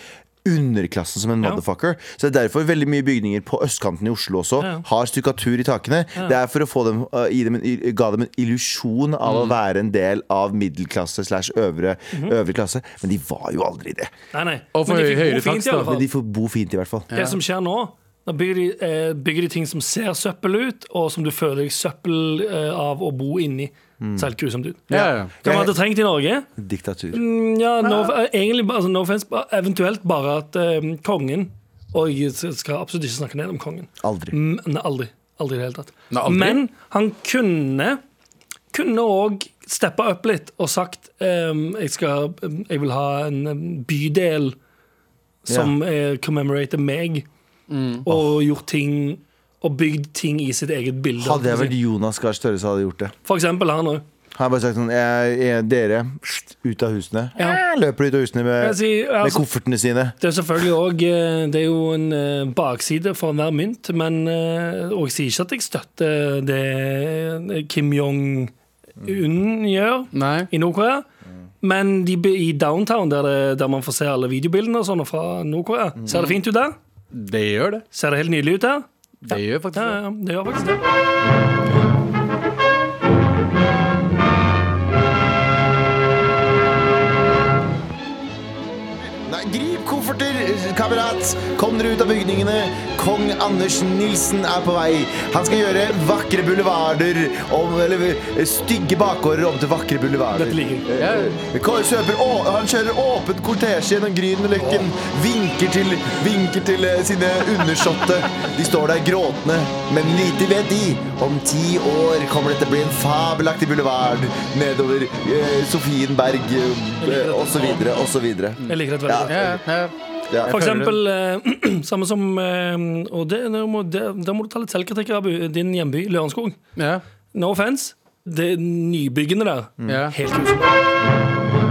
S2: underklassen som en
S3: Ja.
S2: motherfucker. Så det er derfor veldig mye bygninger på østkanten i Oslo også
S3: Ja, ja.
S2: har stukkatur i takene. Det er for å få dem, uh, gi dem en, i- ga dem en illusjon av
S3: Mm.
S2: å være en del av middelklasse slash øvre,
S3: Mhm.
S2: øvre klasse. Men de var jo aldri det.
S3: Nei, nei.
S4: Og for
S3: men de fikk
S4: høyere
S3: bo fint,
S4: takst,
S3: i alle
S4: da.
S3: fall.
S2: Men de får bo fint, i hvert fall.
S3: Det som skjer nå, da bygger de, eh, bygger de ting som ser søppel ut, og som du føler deg søppel eh, av å bo inni. Ser helt grusomt ut.
S4: Ja, ja.
S3: Hva man hadde trengt i Norge?
S2: Diktatur.
S3: Mm, Ja, no, egentlig, bare- altså, no offense, ba- eventuelt bare at eh, kongen Og jeg skal absolutt ikke snakke ned om kongen.
S2: Aldri.
S3: Mm, Nei, aldri. Aldri i det hele tatt.
S4: Nei, aldri?
S3: Men han kunne Kunne òg steppa opp litt og sagt eh, jeg, skal, jeg vil ha en eh, bydel som eh, commemorater meg,
S4: Mm.
S3: og gjort ting og bygd ting i sitt eget bilde.
S2: Hadde jeg vært Jonas Gahr Støre, så hadde jeg gjort det.
S3: For eksempel han òg.
S2: Han har bare sagt sånn jeg, jeg, Dere, pst, ut av husene.
S3: Ja.
S2: Eh, Løper ut av husene med,
S3: Jeg sier, altså-
S2: med koffertene sine.
S3: Det er selvfølgelig òg Det er jo en eh, bakside for enhver mynt, men eh, Og jeg sier ikke at jeg støtter det Kim Jong-un gjør
S4: Nei.
S3: i Nord-Korea. Men de, be- i downtown, der, det, der man får se alle videobildene og sånn fra Nord-Korea, ser det fint ut der?
S4: Det gjør det.
S3: Ser det helt nydelig ut der?
S4: Det gjør faktisk
S3: Ja,
S4: det.
S3: ja, det gjør faktisk det.
S2: Nei, grip kofferter, kamerat! Kom dere ut av bygningene. Kong Anders Nilsen er på vei. Han skal gjøre vakre boulevarder om, Eller eh, stygge bakgårder om til vakre boulevarder. Eh,
S3: Dette liker jeg.
S4: Jeg,
S2: Ko- Kjøper, å, han kjører åpent kortesje gjennom Grünerløkken. Vinker til, vinker til eh, sine undersåtte. De står der gråtende, men lite vet de. Om ti år kommer det til å bli en fabelaktig boulevard nedover eh, Sofienberg eh, osv. osv.
S3: Jeg liker dette
S2: Ja,
S3: veldig godt.
S4: ja, ja.
S2: ja.
S4: føler
S3: For eksempel, eh, *clears throat* samme som eh, Og det, nå må, det, da må du ta litt selvkritikk av din hjemby, Lørenskog.
S4: ja.
S3: No offense. Det er nybyggende der.
S4: Ja.
S3: Helt kult.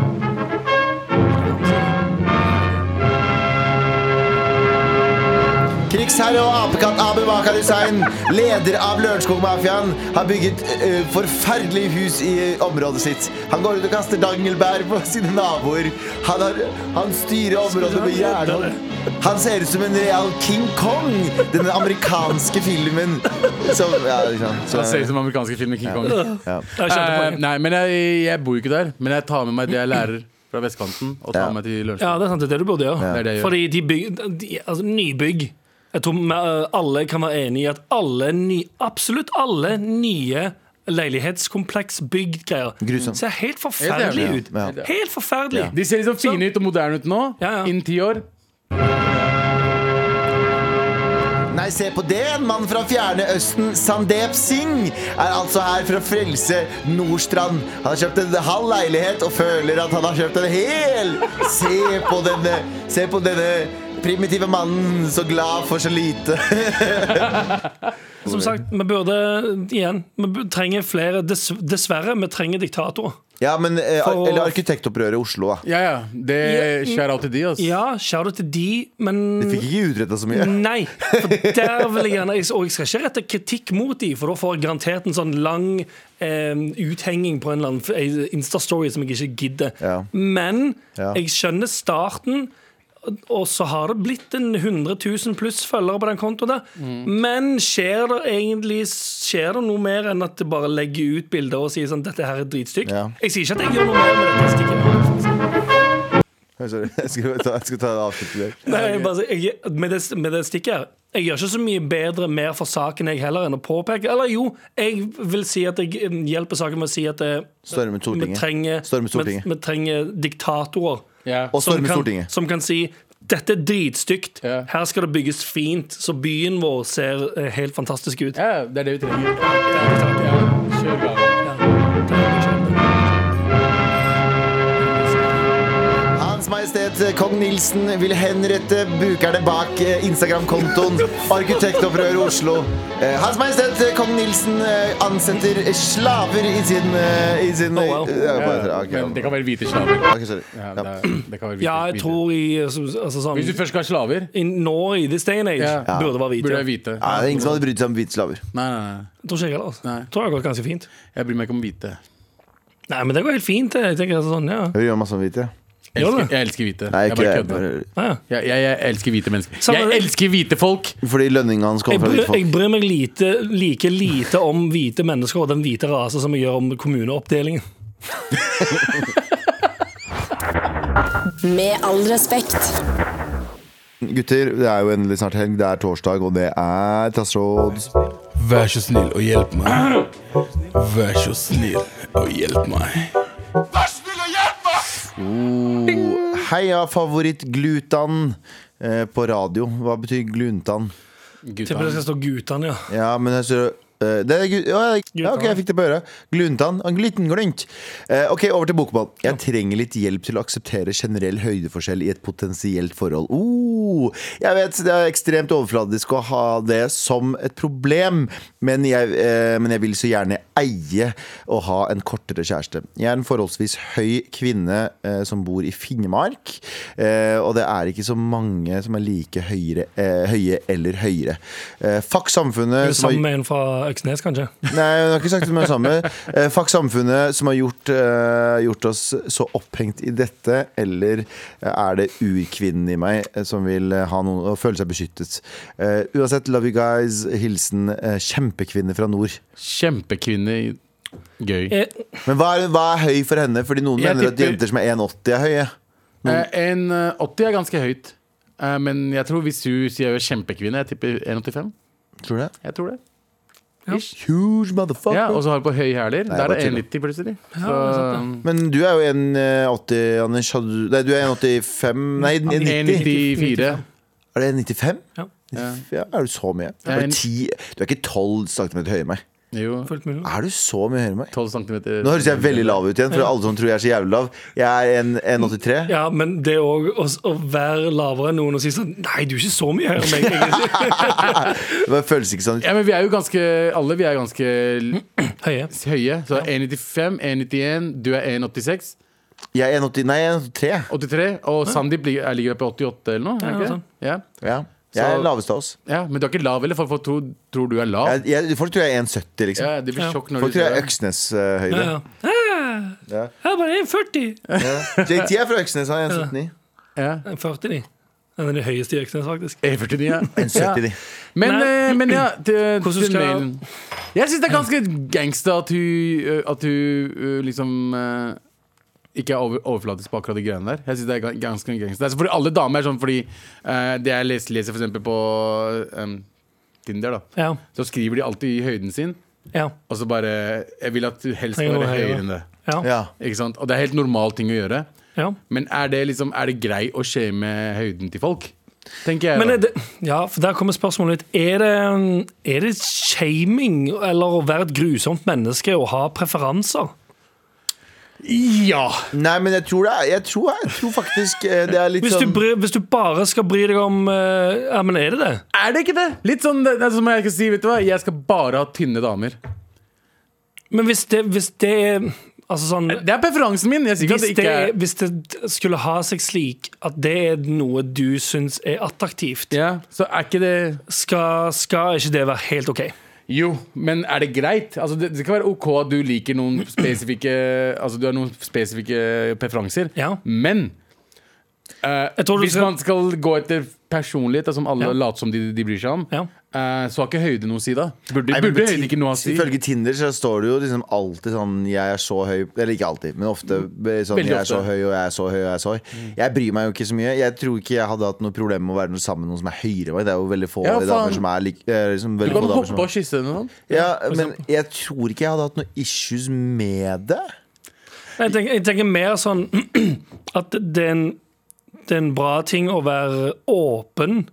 S2: Krigsherre og apekatt Abu Bakar Hussein, leder av Lørenskog-mafiaen, har bygget eh, forferdelige hus i eh, området sitt. Han går ut og kaster dangelbær på *laughs* sine naboer. Han, har, han styrer området med jernhånd. Han ser ut som en real King Kong, den amerikanske filmen som Ja, liksom.
S4: Det ser ut
S2: Som,
S4: som amerikanske filmer. King Kong.
S2: ja.
S3: Jeg skjønte
S4: Eh,
S3: poenget.
S4: nei, men jeg, jeg bor jo ikke der. Men jeg tar med meg det jeg lærer fra vestkanten, og tar
S2: Ja.
S4: med meg til
S3: Ja,
S4: Lørenskog.
S3: det er sant. Det er det du burde gjøre.
S4: Det er det jeg gjør.
S3: Fordi de bygg, de, altså, nybygg Jeg tror vi, eh, alle kan være enig i at alle ny, absolutt alle nye leilighetskompleksbyggreier
S2: Grusomt.
S3: ser helt forferdelig
S4: jævlig,
S3: ut.
S2: ja.
S4: Ja.
S3: Helt forferdelig.
S4: De ser liksom fine ut og moderne ut nå.
S3: Ja, ja.
S4: Innen ti år.
S2: Nei, se på det! En mann fra fjerne østen, Sandeep Singh, er altså her for å frelse Nordstrand. Han har kjøpt en halv leilighet og føler at han har kjøpt en hel! Se på denne, se på denne primitive mannen, så glad for så lite.
S3: Som sagt, vi burde igjen Vi bu- trenger flere dess, Dessverre, vi trenger diktatorer.
S2: Ja, men eh, ar-
S3: For-
S2: Eller arkitektopprøret i Oslo, da.
S4: Ja, ja. Det skjer av til de, altså.
S3: Ja, shout out til de, men
S2: De fikk ikke utretta så mye.
S3: Nei, for der vil jeg gjerne Og jeg skal ikke rette kritikk mot de For da får jeg garantert en sånn lang eh, uthenging på en eller annen en Insta-story som jeg ikke gidder
S2: Ja.
S3: Men
S2: Ja.
S3: jeg skjønner starten og så har det blitt en 100 000 pluss følgere på den kontoen der. Men skjer det egentlig Skjer det noe mer enn at det bare legger ut bilder og sier sånn Dette her er dritstygt?
S2: Ja.
S3: Jeg sier ikke at jeg gjør noe mer med dette. Stikker.
S2: Oi, Sorry, jeg skulle ta, jeg skulle ta en avslutning der.
S3: Nei, jeg bare, jeg, med, det, med det stikket her Jeg gjør ikke så mye bedre mer for saken jeg heller enn å påpeke Eller jo, jeg vil si at jeg eh, hjelper saken med å si at eh,
S2: Storme
S3: vi
S2: Stortinget.
S3: trenger,
S2: Storme Stortinget.
S3: Vi, vi trenger diktatorer
S4: Ja.
S2: Og
S3: som
S2: storme
S3: kan,
S2: Stortinget.
S3: som kan si dette er dritstygt,
S4: Ja.
S3: her skal det bygges fint, så byen vår ser eh, helt fantastisk ut.
S4: Ja, det er det vi trenger. Ja, kjør gang.
S2: Hans Majestet eh, Kong Nilsen vil henrette brukerne bak eh, Instagram-kontoen Arkitektopprøret Oslo. Eh, Hans Majestet eh, Kong Nilsen eh, ansetter slaver i sin, eh, i sin
S3: Oh, wow.
S2: eh, ja, bare- ok,
S4: Men det kan være hvite slaver.
S2: ok, sorry.
S4: Ja,
S2: Ja.
S4: det, er- det kan være hvite,
S3: Ja, jeg
S4: hvite.
S3: tror i eh, så- altså, sånn,
S4: Hvis du først skal ha slaver,
S3: i Nå i this day and age
S4: Ja.
S3: burde det være hvite.
S4: burde
S3: ja.
S4: jeg hvite.
S2: Ja, det er ingen som hadde brydd seg om hvite slaver.
S4: Nei, nei, nei.
S3: Tror ikke jeg heller. altså.
S4: Nei.
S3: Tror det har gått ganske fint.
S4: Jeg bryr meg ikke om hvite.
S3: Nei, men det går helt fint. det. Jeg tenker altså sånn, ja.
S2: Hører gjør masse om hvite.
S4: Jeg
S3: Gjør
S4: elsker,
S3: det?
S4: jeg elsker hvite.
S2: Nei,
S4: jeg
S2: ikke
S4: bare
S2: jeg.
S4: kødder.
S3: Ja, ja.
S4: Jeg, jeg, jeg elsker hvite mennesker.
S3: Samme-
S4: Jeg elsker hvite folk!
S2: bare- Fordi lønninga hans kommer
S3: Jeg
S2: fra
S3: bryr,
S2: hvite folk.
S3: jeg bryr meg lite, like lite om hvite mennesker og den hvite rase som jeg gjør om kommuneoppdelingen.
S5: Med all respekt.
S2: Gutter, det er jo endelig snart helg. Det er torsdag, og det er trassråd.
S7: Vær så snill og hjelp meg. Vær så snill og hjelp meg.
S2: Oh, heia favoritt-glutan eh, på radio. Hva betyr gluntan?
S3: Tipper det
S4: Gutta.
S3: skal stå guttene, ja.
S2: Ja, men jeg ser eh, det er, gu- ja, ja, ok, jeg fikk det på øret. Gluntan. En liten glunt. Eh, ok, over til bokmål. Jeg trenger litt hjelp til å akseptere generell høydeforskjell i et potensielt forhold. Oh, oh, Jeg vet det er ekstremt overfladisk å ha det som et problem, men jeg, eh, men jeg vil så gjerne eie å ha en kortere kjæreste. Jeg er en forholdsvis høy kvinne eh, som bor i Finnmark, eh, og det er ikke så mange som er like høyere, eh, høye eller høyere. Eh, fuck samfunnet som har-
S3: Sammen med en fra Øksnes, kanskje.
S2: Nei, hun har ikke sagt det med det samme. Eh, fuck samfunnet som har gjort, eh, gjort oss så opphengt i dette, eller eh, er det urkvinnen i meg eh, som vil eh, ha noen og føle seg beskyttet? Eh, uansett, love you guys. Hilsen eh, kjempekvinne fra nord.
S4: Kjempekvinne. i- Gøy.
S3: Eh,
S2: Men hva er, hva er høy for henne? Fordi noen
S4: Jeg
S2: mener at
S4: tipper-
S2: jenter som er 1,80 er høye.
S4: Eh, En eh, 80 er ganske høyt. Eh, Men jeg tror hvis du sier jeg er kjempekvinne, jeg tipper 1,85.
S2: Tror du det?
S4: Jeg tror det.
S2: Huge motherfucker.
S4: Ja, Og så har du på høye hæler. Der
S2: bare
S4: er
S2: chill.
S4: 1,90 plutselig. Så,
S2: Men du er jo 1,80, Anders. Hadde du- Nei, du er 1,85 Nei, 1,90.
S4: 1,94.
S2: Er det 1,95?
S3: Ja.
S2: Ja, er du så mye?
S4: Jeg er
S2: Er
S4: en-
S2: du, ti, du er ikke 12 cm høyere enn meg.
S4: Jo,
S3: fullt mulig.
S2: Er du så mye høyere enn meg?
S4: 12
S2: Nå
S4: cm.
S2: høres jeg veldig lav ut igjen, for alle som tror jeg er så jævlig lav. Jeg er en 1,83.
S3: Ja, men det òg å, å være lavere enn noen og si sånn Nei, du er ikke så mye høyere enn meg, *laughs* egentlig.
S2: Det bare føles ikke sånn ut.
S4: Ja, men vi er jo ganske Alle vi er ganske
S3: Mm.
S4: l-
S3: Høye.
S4: høye. Så 1,95, 1,91, du er 1,86.
S2: Jeg er 1,80 Nei, jeg er 1,83.
S4: 83, og Sandeep ligger, er- ligger oppe i 88 eller noe? er det
S3: Ja,
S4: ikke
S3: sånn.
S4: det? Ja.
S2: Ja. Jeg er
S4: Så-
S2: lavest av oss.
S4: ja, Men du er ikke lav, eller? For folk tror, tror du er lav.
S2: Jeg, jeg, folk tror jeg er 1,70, liksom.
S4: Ja, de blir
S3: Ja.
S4: sjokk når
S2: Folk
S4: du
S2: tror jeg
S4: sier
S2: er eh,
S4: det.
S2: Øksnes-høyde.
S3: Ja, ja. Ah,
S2: Ja.
S3: Jeg er bare 1,40.
S2: JT er fra Øksnes, han er 1,79.
S4: Ja.
S3: 1,40, de. Den er den høyeste i Øksnes, faktisk.
S4: 1,49,
S2: *laughs*
S4: ja.
S2: 1,70,
S4: ja.
S2: de.
S4: Men,
S3: Nei.
S4: eh, men ja, til,
S3: Hvordan
S4: til
S3: skal-
S4: mailen. Jeg syns det er ganske gangsta at hun, eh, at hun eh, liksom eh, ikke er over, overflatisk på akkurat de greiene der. Jeg synes det er ga- ganske gangsta altså, Fordi alle damer er sånn fordi eh, det jeg leser, leser for eksempel på eh, Tinder, da
S3: Ja,
S4: så skriver de alltid i høyden sin,
S3: ja,
S4: og så bare Jeg vil at du helst skal være
S3: Trenger noe høyere.
S4: høyere enn det.
S3: ja.
S2: Ja.
S4: Ikke sant? Og det er helt normal ting å gjøre.
S3: ja.
S4: Men er det, liksom, er det grei å shame høyden til folk? Tenker jeg.
S3: Men
S4: da.
S3: er det, ja, for der kommer spørsmålet litt. Er det, er det shaming eller å være et grusomt menneske og ha preferanser?
S4: Ja!
S2: Nei, men jeg tror det er Jeg tror, jeg tror faktisk eh, det er litt
S4: Liksom
S3: Hvis du,
S2: sånn
S3: bry, hvis du bare skal bry deg om eh, Ja, men er det det?
S4: Er det ikke det? Litt sånn det, det er som jeg skal si, vet du hva? Jeg skal bare ha tynne damer.
S3: Men hvis det, hvis det er Altså sånn
S4: Det er preferansen min. Jeg sier ikke
S3: hvis
S4: at det
S3: det,
S4: ikke er
S3: hvis det skulle ha seg slik at det er noe du syns er attraktivt,
S4: ja, så er ikke det
S3: skal, skal ikke det være helt OK?
S4: Jo, men er det greit? Altså, det, det skal være OK at du liker noen spesifikke Altså, du har noen spesifikke preferanser,
S3: Ja.
S4: men eh,
S3: Jeg tror du
S4: Hvis
S3: skal-
S4: man skal gå etter personlighet, da, som alle
S3: Ja.
S4: later som de, de bryr seg om,
S3: Ja.
S4: eh, så har ikke høyde noe å si, da. Burde,
S2: Nei, men
S4: burde
S2: på
S4: høyde ikke noe å si?
S2: Ifølge Tinder så står det jo liksom alltid sånn Jeg er så høy Eller ikke alltid, men ofte be- sånn
S4: Veldig
S2: Jeg er
S4: ofte.
S2: så
S4: Mm.
S2: høy, og jeg er så høy, og jeg er så høy. Jeg bryr meg jo ikke så mye. Jeg tror ikke jeg hadde hatt noe problem med å være noe sammen med noen som er høyere enn meg. Det er jo veldig få
S4: Ja, faen.
S2: damer som er lik, eh, liksom,
S4: Du
S2: veldig
S4: kan
S2: få damer
S4: hoppe
S2: som
S4: og kysse henne sånn.
S2: ja, Men jeg tror ikke jeg hadde hatt noe issues med det.
S3: Jeg tenker, jeg tenker mer sånn *clears throat* at det er, en, det er en bra ting å være åpen.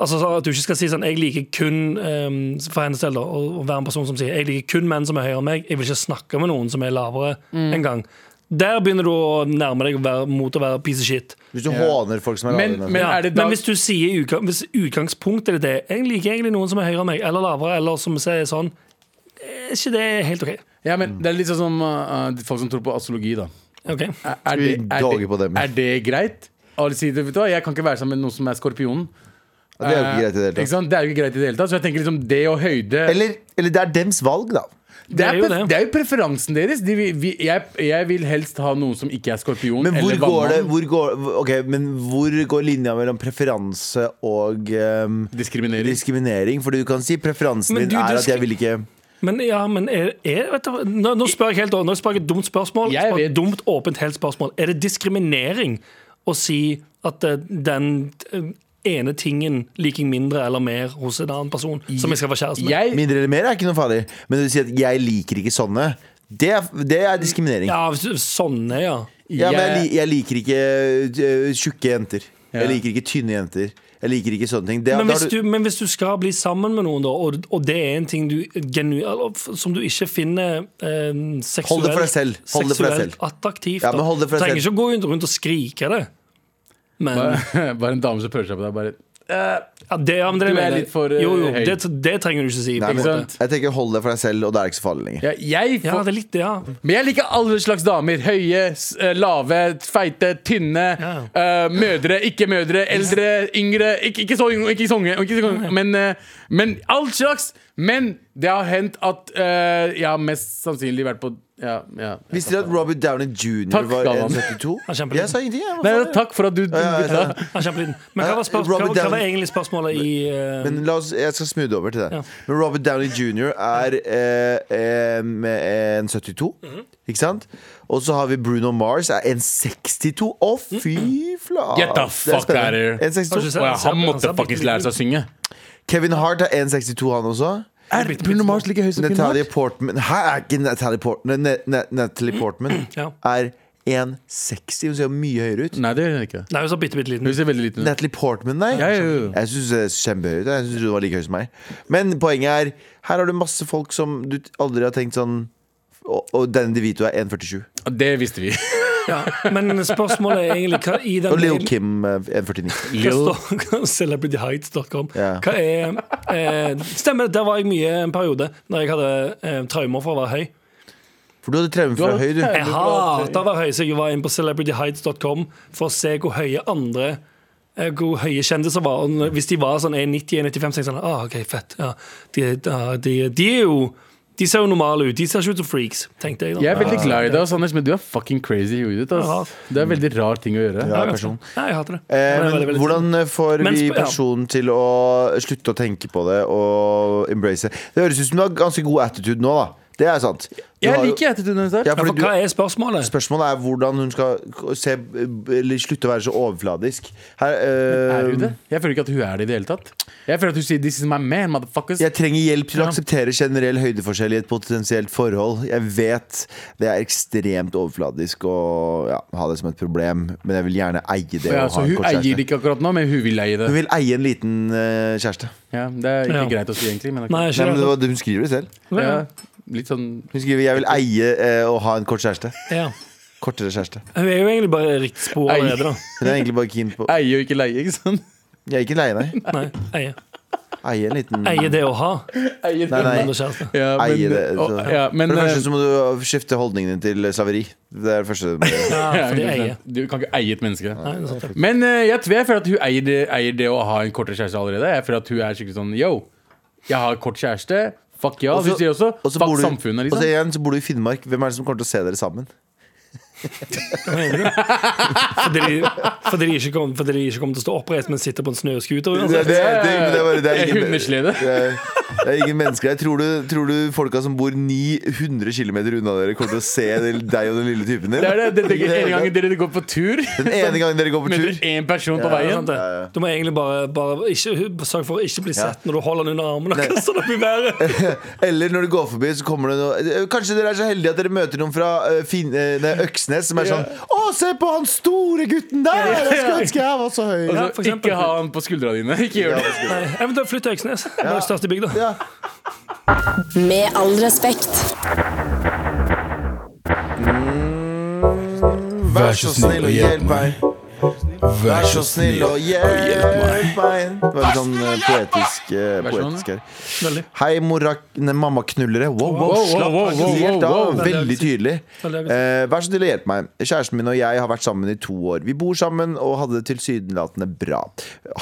S3: Altså så At du ikke skal si sånn 'jeg liker kun ehm, for hennes del da, å å være en person som sier 'jeg liker kun menn som er høyere enn meg', 'jeg vil ikke snakke med noen som er lavere'
S4: Mm.
S3: engang. Der begynner du å nærme deg å være, mot å være piece of shit.
S2: Hvis du håner folk som er
S4: Men-
S2: lavere enn deg.
S4: men-
S3: Ja,
S4: er det da-
S3: men hvis du sier i utgang, hvis utgangspunktet er det 'jeg liker egentlig noen som er høyere enn meg', eller lavere, eller som sier sånn, er ikke det helt OK?
S4: Ja, men Det er litt sånn som uh, uh, folk som tror på astrologi, da.
S3: Ok.
S4: Er, er,
S2: vi
S4: det, er,
S2: dage
S4: det,
S2: på dem?
S4: er det greit? Alle sier det, vet du hva, Jeg kan ikke være sammen med noen som er skorpionen.
S2: Ja, Det er jo ikke greit i det
S4: Eh,
S2: hele
S4: ikke
S2: tatt.
S4: sant? Det er jo ikke greit i det hele tatt. Så jeg tenker liksom det og høyde
S2: Eller, eller det er dems valg, da.
S4: det, er
S3: Det er jo
S4: pref-
S3: det.
S4: det er jo preferansen deres. De, vil- vi, jeg, jeg vil helst ha noen som ikke er skorpion.
S2: Men hvor
S4: eller
S2: går, det, hvor,
S4: vannmann.
S2: går, ok, men hvor går linja mellom preferanse og ehm,
S4: Diskriminering.
S2: diskriminering? For du kan si preferansen
S3: Men
S2: din
S3: du,
S2: er
S3: du
S2: at jeg
S3: skri-
S2: vil ikke
S3: Men ja, men er, er vet du, nå, nå spør jeg helt over. Nå spør jeg et dumt spørsmål.
S4: Jeg
S3: Spør et
S4: vet.
S3: dumt, åpent, helt spørsmål. Er det diskriminering å si at eh, den eh, ene tingen liker jeg mindre eller mer hos en annen person som jeg skal være kjæreste med?
S4: Jeg,
S2: Mindre eller mer er ikke noe farlig. Men når du sier at 'jeg liker ikke sånne', det er, det er diskriminering. Ja,
S3: Ja, hvis du- sånne, ja.
S2: men jeg,
S4: jeg,
S2: li- jeg liker ikke øh, tjukke jenter.
S4: Ja.
S2: Jeg liker ikke tynne jenter. Jeg liker ikke sånne ting. Det,
S3: Men
S2: da
S3: hvis
S2: har
S3: du, men hvis du skal bli sammen med noen, da, og, og det er en ting du genu, eller, f- som du ikke finner eh,
S2: Hold
S3: seksuelt,
S2: det for deg selv. Hold det for deg
S3: seksuelt
S2: selv.
S3: attraktivt,
S2: Ja,
S3: da.
S2: men hold det for deg
S3: trenger ikke å gå rundt og skrike det. Men
S4: Bare, *laughs* bare en dame som prøver seg på deg. Bare,
S3: Eh, ja, det, ja, men det
S4: Du er
S3: mener jeg.
S4: litt for, eh,
S3: Jo, jo,
S4: høy.
S3: det, det trenger du ikke si. på
S2: Nei,
S3: en
S2: men,
S3: måte.
S2: jeg tenker Hold det for deg selv, og det er ikke så farlig lenger.
S4: ja, jeg
S3: Ja,
S4: får,
S3: det er litt det, ja.
S4: men jeg liker alle slags damer. Høye, s- eh, lave, feite, tynne.
S3: Ja.
S4: eh, mødre, ikke mødre, eldre, yngre. Ikke, ikke så unge, ikke så unge. Ikke så unge men, eh, men all slags. Men det har hendt at eh, jeg har mest sannsynlig vært på ja, ja.
S2: Visste dere at Robert Downey jr.
S4: Takk,
S2: var
S4: Galvan.
S2: 1,72?
S3: Han kjemper
S2: Jeg sa ingenting, jeg. Hva
S4: Nei,
S2: faen?
S4: Eh, takk for at du
S2: ja, ja.
S3: Ja, kjempeliten. Men hva var, spør hva,
S2: Robert
S3: hva var
S2: Downey-
S3: egentlig spørsmålet i eh,
S2: Men la oss, jeg skal smoothe over til deg.
S3: Ja.
S2: Men Robert Downey jr. er eh, eh, med en 72, ikke sant? Og så har vi Bruno Mars, er en 62. Å, fy flate!
S4: Get the
S2: Det er
S4: fuck out of here.
S2: spennende. En
S3: Har du
S2: 62.
S3: sett-
S4: Å ja, han måtte
S3: bitte
S4: faktisk lære seg å synge.
S2: Kevin Hart er 1,62, han også.
S4: Er Bruno Mars like høy
S2: Natalie Portman Hæ, er ikke Natalie Portman Ne- Ne- Natalie Portman
S3: Ja.
S2: er 1,60. Hun ser jo mye høyere ut.
S4: Nei, det gjør hun ikke.
S3: Nei, hun sa bitte, bitte liten.
S4: Hun ser veldig liten ut.
S2: Natalie Portman, nei.
S4: Ja, ja, ja.
S2: Jeg syns det er kjempehøyt. Jeg synes du var like høy som meg. Men poenget er, her har du masse folk som du aldri har tenkt sånn Og, og Danny DeVito er 1,47.
S4: Det
S2: *laughs*
S4: visste vi.
S3: Ja, men spørsmålet er egentlig hva i den
S2: Og Lil
S3: mailen-
S2: Kim eh, 1,49.
S3: Hva står *laughs* celebrityheights.com?
S2: Ja.
S3: Hva er eh, Stemmer, der var jeg mye en periode, Når jeg hadde eh, traumer for å være høy.
S2: For du hadde traume fra
S4: Du hadde
S2: høy, du.
S4: traume.
S3: Jeg hater å være høy, så jeg var inne på celebrityheights.com for å se hvor høye andre eh, hvor høye kjendiser var. Og når- hvis de var sånn 1,90-1,95, så er jeg sånn ah, OK, fett. Ja, de, ja, de, de er jo De ser jo normale ut. De ser ikke ut som freaks, tenkte jeg. da.
S4: Jeg er veldig glad i deg, ass, Anders, men du er fucking crazy i hodet ditt. ass. Det er en veldig rar ting å gjøre.
S2: Ja, person.
S3: Nei, jeg hater det.
S2: Eh,
S3: Men det er
S2: men
S3: veldig, veldig-
S2: hvordan får
S3: Men
S2: vi
S3: sp- ja.
S2: personen til å slutte å tenke på det og embrace det? Det høres ut som du har ganske god attitude nå, da. Det er sant. Du har
S4: Jeg
S2: jo-
S4: liker attituden hennes
S2: Ja,
S4: der.
S3: Ja,
S2: fordi
S3: for
S2: du,
S3: hva er spørsmålet?
S2: Spørsmålet er hvordan hun skal se, eller slutte å være så overfladisk. Her, eh,
S4: Er hun det? Jeg føler ikke at hun er det i det hele tatt. Jeg føler at hun sier 'this is my man', motherfuckers.
S2: Jeg trenger hjelp til å
S4: Ja.
S2: akseptere generell høydeforskjell i et potensielt forhold. Jeg vet det er ekstremt overfladisk å ja, ha det som et problem, men jeg vil gjerne eie det. og ha
S4: Ja, så
S2: en
S4: hun
S2: kort
S4: eier det
S2: kjæreste.
S4: ikke akkurat nå, men hun vil eie
S2: Hun
S4: det.
S2: vil eie en liten eh, kjæreste.
S4: Ja, det er ikke
S3: Ja.
S4: greit å si, egentlig. Men
S3: Nei,
S4: ok.
S2: Nei,
S3: ikke
S2: men det
S3: det.
S2: var, det- hun skriver det selv.
S4: ja, litt sånn
S2: Hun skriver 'jeg vil eie eh, å ha en kort kjæreste'.
S3: Ja.
S2: Kortere kjæreste.
S3: Hun er jo egentlig bare riktig spor
S4: Ei.
S3: allerede, da.
S2: Hun er egentlig bare keen på
S4: eie og ikke leie, ikke sant?
S2: Jeg er ikke leie, nei.
S3: Nei, eie.
S2: Eie en liten
S3: Eie det å ha.
S4: Eie
S2: Nei, nei.
S3: Men det kjæreste.
S4: Ja, men,
S2: Eie det.
S4: å,
S2: Så.
S4: ja, men,
S2: For det
S4: eh,
S2: første så må du skifte holdningen din til slaveri. Det er det første du må gjøre.
S3: Ja,
S4: Ja,
S3: fordi
S4: ikke
S3: eie.
S4: sant? Du kan ikke eie et menneske.
S3: Nei, det er sant.
S4: Men eh, jeg, tror, jeg føler at hun eier det, eier det å ha en kortere kjæreste allerede. Jeg føler at hun er skikkelig sånn Yo, jeg har kort kjæreste. Fuck ja.
S2: Og så-
S4: Hvis de også,
S2: og så bor
S4: fuck
S2: du-
S4: samfunnet,
S2: Og så
S4: liksom.
S2: igjen så bor du i Finnmark. Hvem er det som kommer til å se dere sammen?
S3: Hva mener du? Fordi, fordi, de ikke kommer, fordi de ikke kommer til å stå oppreist, men sitter på en snøscooter.
S2: Det, det,
S3: uansett.
S2: det, det, det, er bare- det er
S4: Jeg er
S2: ingen,
S4: hundeslede.
S2: det er- det er ingen mennesker der. Tror du, tror du folka som bor 900 km unna dere, kommer til å se deg og den lille typen din?
S4: Det er det, det,
S2: *laughs*
S4: det, En gang dere går på tur,
S2: Den ene gangen dere går *laughs* på
S4: møter
S2: tur. *laughs*
S4: dere én person på
S3: Det er
S4: veien.
S3: sant, det. Du må egentlig bare, bare ikke, sørge for å ikke bli sett når du holder den under armen. Og *laughs* kaster den opp i
S2: *laughs*
S3: været.
S2: Eller når du går forbi, så kommer det noe Eh, Kanskje dere er så heldige at dere møter noen fra eh, fin, eh, nei, Øksnes som er sånn Å, se på han store gutten der! Jeg skulle ønske jeg var så høy.
S3: Ja,
S4: Altså,
S3: for eksempel.
S4: ikke ha han på skuldra dine. *laughs* Ikke gjør det.
S3: Nei, Eventuelt flytt til Øksnes. Det er jo størst i bygda.
S2: Ja.
S5: Med all respekt.
S2: Vær så snill og hjelp meg. Vær så snill og hjelp meg. Det var litt sånn eh, poetisk, eh,
S4: så snill og hjelp meg.
S2: poetisk her.
S3: Veldig.
S2: Hei, morak... Nei, mammaknullere. Wow, wow,
S4: wow,
S2: slapp
S4: wow, wow,
S2: helt
S4: wow, wow.
S2: av. Veldig tydelig.
S3: Veldig aggressivt.
S2: Eh, vær så snill og hjelp meg. Kjæresten min og jeg har vært sammen i to år. Vi bor sammen og hadde det tilsynelatende bra.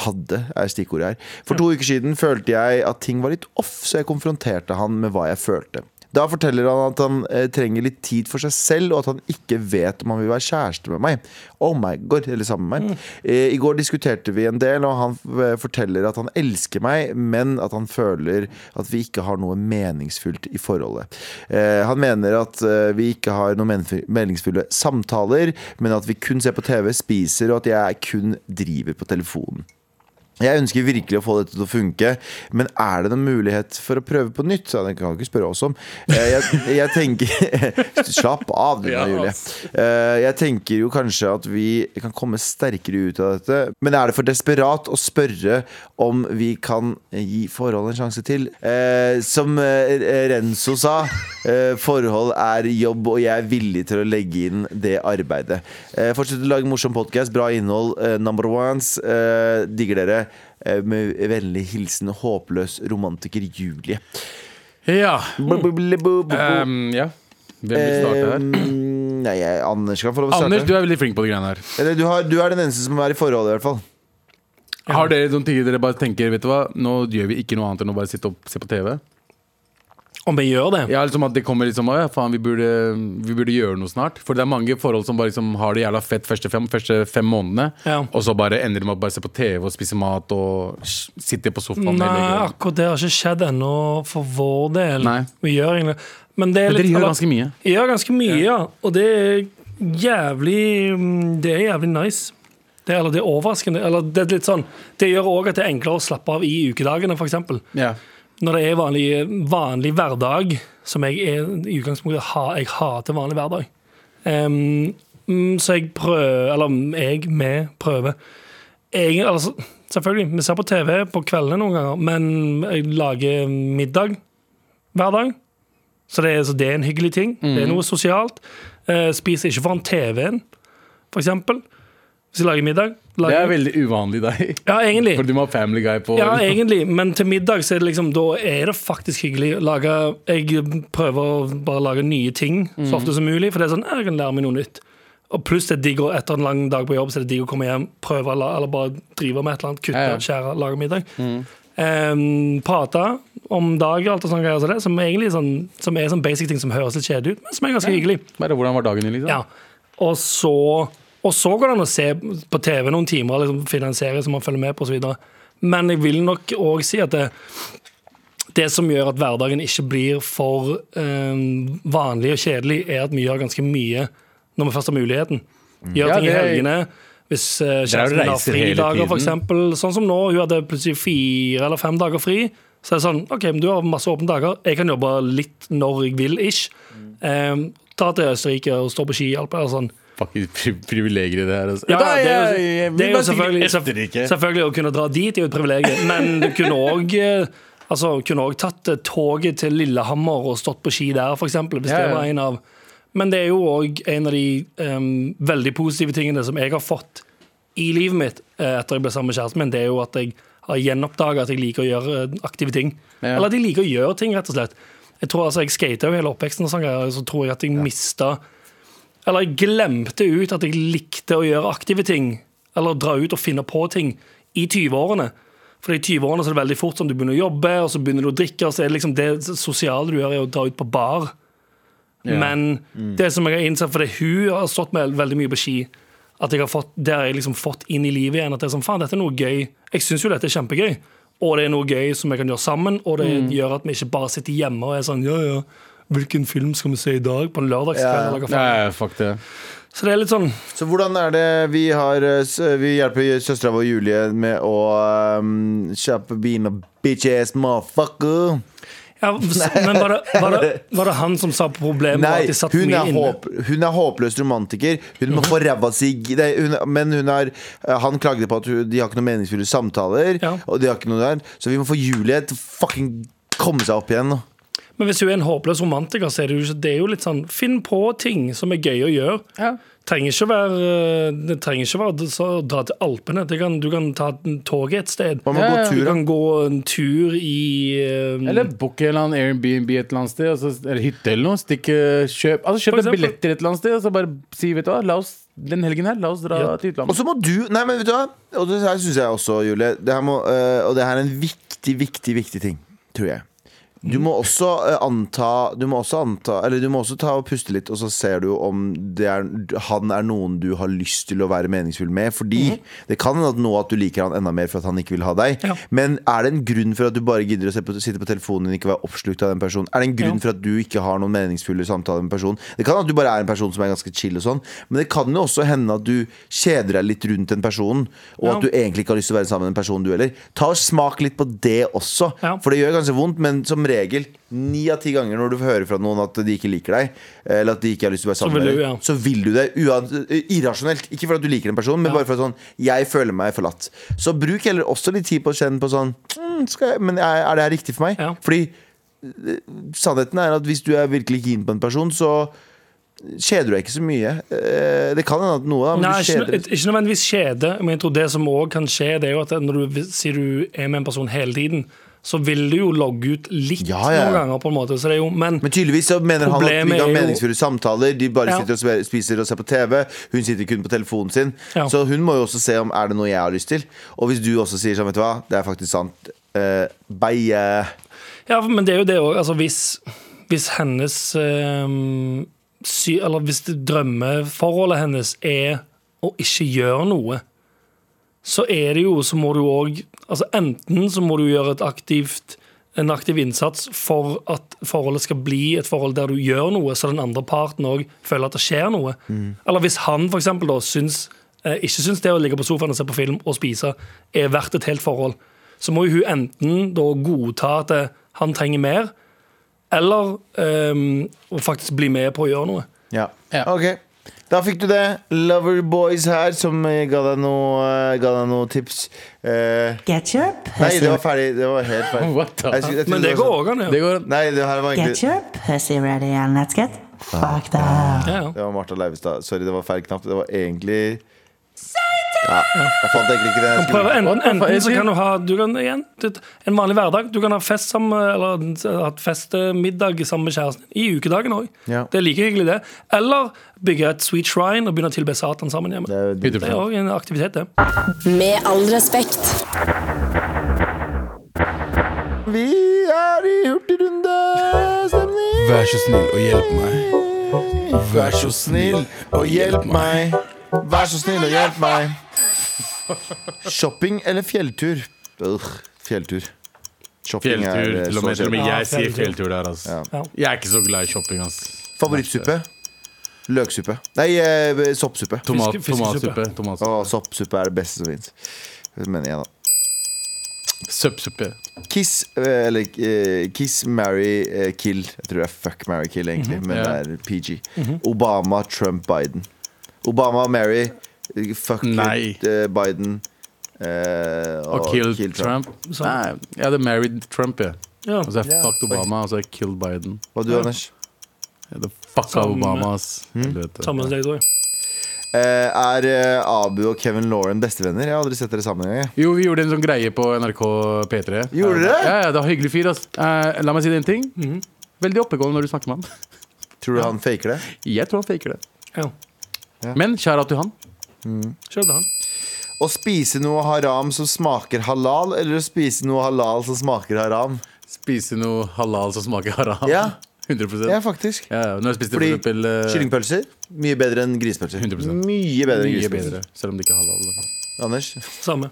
S2: Hadde er stikkordet her. For to uker siden følte jeg at ting var litt off, så jeg konfronterte han med hva jeg følte. Da forteller han at han eh, trenger litt tid for seg selv, og at han ikke vet om han vil være kjæreste med meg. Oh my god, eller sammen med meg. Eh, I går diskuterte vi en del, og han eh, forteller at han elsker meg, men at han føler at vi ikke har noe meningsfullt i forholdet. Eh, han mener at eh, vi ikke har noen menf- meningsfulle samtaler, men at vi kun ser på TV, spiser, og at jeg kun driver på telefonen. Jeg ønsker virkelig å få dette til å funke, men er det noen mulighet for å prøve på nytt? Så jeg kan ikke spørre oss om. Eh, Jeg, jeg tenker *laughs* Slapp av, du nå,
S4: Ja,
S2: Julie. Eh, Jeg tenker jo kanskje at vi kan komme sterkere ut av dette. Men er det for desperat å spørre om vi kan gi forholdet en sjanse til? Eh, Som eh, Renzo sa, eh, forhold er jobb, og jeg er villig til å legge inn det arbeidet. Eh, Fortsett å lage morsom podkast, bra innhold, eh, number ones. Eh, Digger dere. Eh, Med vennlig hilsen håpløs romantiker Julie.
S4: Ja.
S2: Bub, bub, bub, bub, bub.
S4: Ehm, ja. Hvem Hmm. vil starte her?
S2: Eh, Nei, jeg- Anders kan få lov å starte.
S4: Anders, du er veldig flink på de greiene her.
S2: Eller du, har, du er den eneste som er i forhold, i hvert fall.
S4: Har dere noen ting dere bare tenker Vet du hva, nå gjør vi ikke noe annet enn å bare sitte og se på TV?
S3: Om vi gjør det?
S4: Ja, liksom at det kommer liksom «Å ja, faen, vi burde, vi burde gjøre noe snart. For det er mange forhold som bare liksom har det jævla fett første fem, første fem månedene,
S3: Ja.
S4: og så bare ender de med å bare se på TV og spise mat og s- sitte på sofaen.
S3: Nei,
S4: hele dagen.
S3: akkurat det har ikke skjedd ennå for vår del.
S4: Nei.
S3: Vi gjør egentlig Men det er
S4: Men
S3: litt
S4: dere gjør
S3: eller-
S4: ganske mye.
S3: Vi gjør ganske mye, ja. Og det er jævlig mm, Det er jævlig nice. Det, er- eller det er overraskende. Eller det er litt sånn Det gjør òg at det er enklere å slappe av i ukedagene, f.eks.
S4: Ja.
S3: Når det er vanlig, vanlig hverdag, som jeg er, i utgangspunktet ha, jeg hater vanlig hverdag. Em, mm, så jeg prøver, eller jeg med prøver. Jeg, altså, selvfølgelig, vi ser på TV på kveldene noen ganger, men jeg lager middag hver dag. Så det er, så det er en hyggelig ting. Det er
S4: Mhm.
S3: noe sosialt. Eh, spiser ikke foran TV-en, for eksempel. Hvis jeg lager middag.
S4: Det
S3: Lager,
S4: er veldig uvanlig deg,
S3: *laughs* ja, egentlig.
S4: for du må ha Family Guy på.
S3: Ja, egentlig, men til middag så er det liksom, da er det faktisk hyggelig. å Lage, jeg prøver å bare lage nye ting så ofte som mulig, for det er sånn, jeg kan lære meg noe nytt. Og pluss det er digg å- etter en lang dag på jobb, så er det digg å komme hjem, prøve å la, eller bare drive med et eller annet, kutte,
S4: Ja, Mm. ja.
S3: skjære, lage middag. Em, prate om dag og alt og sånne greier som det, som egentlig er sånn, som er sånn basic ting som høres litt kjedelig ut, men som er ganske hyggelig.
S4: Bare hvordan var dagen din, liksom?
S3: Ja. Og så, og så går det an å se på TV noen timer, liksom, finne en serie som man følger med på osv. Men jeg vil nok òg si at det, det som gjør at hverdagen ikke blir for eh, vanlig og kjedelig, er at vi gjør ganske mye når vi først har muligheten. Gjør
S4: Ja,
S3: ting i
S4: det er-
S3: helgene. Hvis eh,
S4: er jo
S3: kjæresten min har
S4: reiser hele
S3: fridager,
S4: tiden.
S3: f.eks. Sånn som nå, hun hadde plutselig fire eller fem dager fri. Så er det sånn, ok, men du har masse åpne dager, jeg kan jobbe litt når jeg vil, ish.
S4: Mm.
S3: Ehm, ta til Østerrike og stå på ski, alt eller sånn.
S4: Fucking pri privilegier i det her. Altså.
S3: Ja,
S4: Da,
S3: det er jo,
S4: jeg- jeg- jeg-
S3: det er
S4: vi
S3: jo
S4: bare stikker
S3: selvfølgelig,
S4: Østerrike.
S3: selvf- selvfølgelig å kunne dra dit er jo et privilegium, men du kunne òg altså, kunne også tatt eh, toget til Lillehammer og stått på ski der, f.eks. Hvis
S4: Ja, ja.
S3: det var en av Men det er jo òg en av de em, veldig positive tingene som jeg har fått i livet mitt eh, etter jeg ble sammen med kjæresten min, det er jo at jeg har gjenoppdaga at jeg liker å gjøre eh, aktive ting.
S4: Ja.
S3: Eller at jeg liker å gjøre ting, rett og slett. Jeg tror altså, jeg skata jo hele oppveksten, og sånn greier, og så tror jeg at jeg mista Eller jeg glemte ut at jeg likte å gjøre aktive ting. Eller dra ut og finne på ting i 20-årene. For i 20-årene så er det veldig fort som du begynner å jobbe, og så begynner du å drikke, og så er det liksom det sosiale du gjør, er å dra ut på bar.
S4: Ja.
S3: Men det som jeg har innsett, fordi hun har stått med veldig mye på ski, at jeg har fått, det har jeg liksom fått inn i livet igjen. At det er sånn, faen, dette er noe gøy. Jeg syns jo dette er kjempegøy. Og det er noe gøy som jeg kan gjøre sammen, og det gjør at vi ikke bare sitter hjemme og er sånn ja, ja, hvilken film skal vi se i dag på en lørdagskveld?
S2: Ja.
S3: eller hva faen?
S4: Nei, fuck det.
S3: Så det er litt sånn
S2: Så hvordan er det vi har eh, s- Vi hjelper søstera vår Julie med å um, kjøpe bean og bitch ass motherfucker.
S3: ja,
S2: *laughs*
S3: Men var det, var, det, var det han som sa problemet var
S2: Nei,
S3: at de satt
S2: hun
S3: mye
S2: er,
S3: inne?
S2: håp, hun er håpløs romantiker. Hun
S3: Mhm.
S2: må få ræva si nei, hun, Men hun er, eh, han klagde på at hun, de har ikke noen meningsfulle samtaler.
S3: Ja.
S2: Og de har ikke noe der Så vi må få Julie til å fucking komme seg opp igjen. nå.
S3: Men hvis hun er en håpløs romantiker, så er det jo, ikke- det er jo litt sånn Finn på ting som er gøy å gjøre. Trenger ikke være, eh, det trenger ikke være så dra til Alpene. Det kan, du kan ta toget et sted.
S2: Man må
S4: Ja,
S2: gå
S4: ja.
S3: Du
S2: tur. da.
S3: kan gå en tur i eh,
S4: Eller book en eller annen Airbnb et eller annet sted, altså, eller hytte eller noe. Stikk, eh, kjøp altså, kjøp
S3: For
S4: en
S3: eksempel.
S4: billett til et eller annet sted, og så bare si vet du hva, la oss, den helgen her, la oss dra
S3: Ja.
S4: til
S2: Og
S4: utlandet.
S2: så må du Nei, men vet du hva? Og det her syns jeg også, Julie. Det her må, eh, og det her er en viktig, viktig, viktig ting, tror jeg. Du må også eh, anta Du må også anta Eller du må også ta og puste litt, og så ser du om det er, han er noen du har lyst til å være meningsfull med. Fordi det kan hende at nå at du liker han enda mer for at han ikke vil ha deg.
S3: Mhm. Ja.
S2: Men er det en grunn for at du bare gidder å se på, sitte på telefonen din og ikke være oppslukt av den personen? Er det en grunn
S3: Ja.
S2: for at du ikke har noen meningsfulle samtaler med personen? Det kan hende at du bare er en person som er ganske chill og sånn, men det kan jo også hende at du kjeder deg litt rundt den personen, og
S3: Ja.
S2: at du egentlig ikke har lyst til å være sammen med den personen du heller. Ta og Smak litt på det også.
S3: Ja.
S2: For det gjør ganske vondt, men som regel ni av ti ganger når du hører fra noen at de ikke liker deg, eller at de ikke har lyst til å være sammen
S3: vil
S2: med
S3: du,
S2: deg,
S3: ja.
S2: så vil du det. uan- Irrasjonelt. Ikke fordi du liker en person, men
S3: Ja.
S2: bare for at sånn Jeg føler meg forlatt. Så bruk heller også litt tid på å kjenne på sånn mm, skal jeg, Men er, er det her riktig for meg?
S3: Ja.
S2: Fordi eh, sannheten er at hvis du er virkelig keen på en person, så kjeder du deg ikke så mye. Eh, Det kan hende at noe, da, men
S3: Nei,
S2: du
S3: ikke,
S2: kjeder
S3: nø- ikke nødvendigvis kjede, men jeg tror det som òg kan skje, det er jo at når du sier du er med en person hele tiden, så vil du jo logge ut litt
S2: Ja, ja.
S3: noen ganger, på en måte. Så det er jo, men
S2: Men tydeligvis så mener han at vi
S3: Problemet
S2: ikke har
S3: er jo-
S2: meningsfulle samtaler. De bare
S3: Ja.
S2: sitter og spe- spiser og ser på TV. Hun sitter kun på telefonen sin.
S3: Ja.
S2: Så hun må jo også se om er det noe jeg har lyst til. Og hvis du også sier sånn, vet du hva, det er faktisk sant. Eh, bye.
S3: Ja, men det er jo det òg. Altså, hvis, hvis hennes ehm, sy, Eller hvis det drømmeforholdet hennes er å ikke gjøre noe, så er det jo Så må du òg altså, Enten så må du gjøre et aktivt en aktiv innsats for at forholdet skal bli et forhold der du gjør noe, så den andre parten òg føler at det skjer noe. Eller hvis han for eksempel, da syns, eh, ikke syns det å ligge på sofaen og se på film og spise er verdt et helt forhold, så må jo hun enten da godta at eh, han trenger mer, eller ehm, å faktisk bli med på å gjøre noe.
S2: Ja.
S4: Ja.
S2: Ok. Da fikk du det. Loverboys her som eh, ga deg noe, eh, ga deg noe tips. Eh,
S8: Get your
S2: nei, det
S8: pussy,
S2: var ferdig. Det var helt
S4: *laughs*
S2: ferdig.
S4: What the-
S2: Jeg skulle- jeg trodde
S3: Men det
S2: var
S3: går
S2: sånn-
S3: òg an,
S4: Det
S3: ja.
S4: går
S2: Nei, det her var
S8: get
S2: egentlig
S8: your pussy ready and let's get fucked up.
S3: Ja, ja.
S2: Det var Martha Leivestad. Sorry, det var feil knapp. Det var egentlig ja, Jeg fant egentlig ikke det. Jeg skulle...
S3: Prøv enten,
S4: What the fuck
S3: enten
S4: is
S3: så
S4: it?
S3: kan du ha du kan, igjen, det- en vanlig hverdag. Du kan ha fest sammen, eller hatt festmiddag sammen med kjæresten i ukedagen òg.
S2: Ja.
S3: Det er like hyggelig, det. Eller bygge et sweet shrine og begynne å tilbe Satan sammen hjemme.
S2: Det er jo
S4: ut.
S3: Det er
S4: 100%.
S3: òg en aktivitet, det.
S5: Med all respekt.
S2: Vi er i hurtigrundestemning.
S7: Vær så snill og hjelp meg. Vær så snill og hjelp
S2: meg. Vær så snill og hjelp meg. Shopping eller fjelltur? Ugh, fjelltur. Shopping er,
S4: Fjelltur,
S2: eh,
S4: til og med.
S2: så
S4: Til og med
S3: Ja,
S4: jeg sier
S3: fjelltur.
S4: fjelltur der, altså.
S3: Ja.
S4: Jeg er ikke så glad i shopping, ass.
S2: kjedelig. Favorittsuppe? Løksuppe. Nei, eh, soppsuppe.
S4: Tomat,
S3: Fiske- fiskesuppe.
S4: tomatsuppe. tomatsuppe.
S2: Å, soppsuppe er det beste som fins. Mener jeg, da.
S4: Søppsuppe.
S2: Kiss, eh, eller eh, Kiss, Marry, eh, Kill. Jeg tror det er Fuck, Marry, Kill, egentlig, men
S4: Mhm. Ja. Mhm.
S2: det er PG. Obama, Trump, Biden. Obama, Marry, eh, Fuck,
S4: Nei.
S2: Kill, eh, Biden. eh,
S4: Og killed Trump.
S3: Så-
S4: Nei, jeg hadde married Trump, jeg.
S3: Sånn. Ja.
S4: Og så har jeg fucked Obama, og så har jeg killed Biden.
S2: Hva du, Anders?
S4: Jeg hadde fucka
S3: Samme.
S4: Obama, ass. Du vet det.
S3: Samme som deg, tror jeg.
S2: Eh, er eh, Abu og Kevin Lauren bestevenner? Jeg har aldri sett dere sammen engang. jeg.
S4: Jo, vi gjorde en sånn greie på NRK P3.
S2: Gjorde
S4: Ja,
S2: dere?
S4: Ja, ja, det var hyggelig fyr, ass. Eh, la meg si en ting. Veldig oppegående når du snakker med han.
S2: Tror du han faker det?
S4: Jeg tror han faker det.
S3: Ja.
S4: Men kjære til han.
S3: Kjør til han.
S2: Å spise noe haram som smaker halal, eller å spise noe halal som smaker haram?
S4: Spise noe halal som smaker haram.
S2: Ja.
S4: 100
S2: Ja,
S4: ja,
S2: faktisk.
S4: Når jeg spiste
S2: Fordi
S4: for eksempel eh,
S2: Kyllingpølser? Mye bedre enn grisepølser.
S4: 100%.
S2: Mye bedre enn
S4: Mye
S2: grisepølser.
S4: bedre, selv om det ikke er halal.
S2: Anders?
S3: Samme.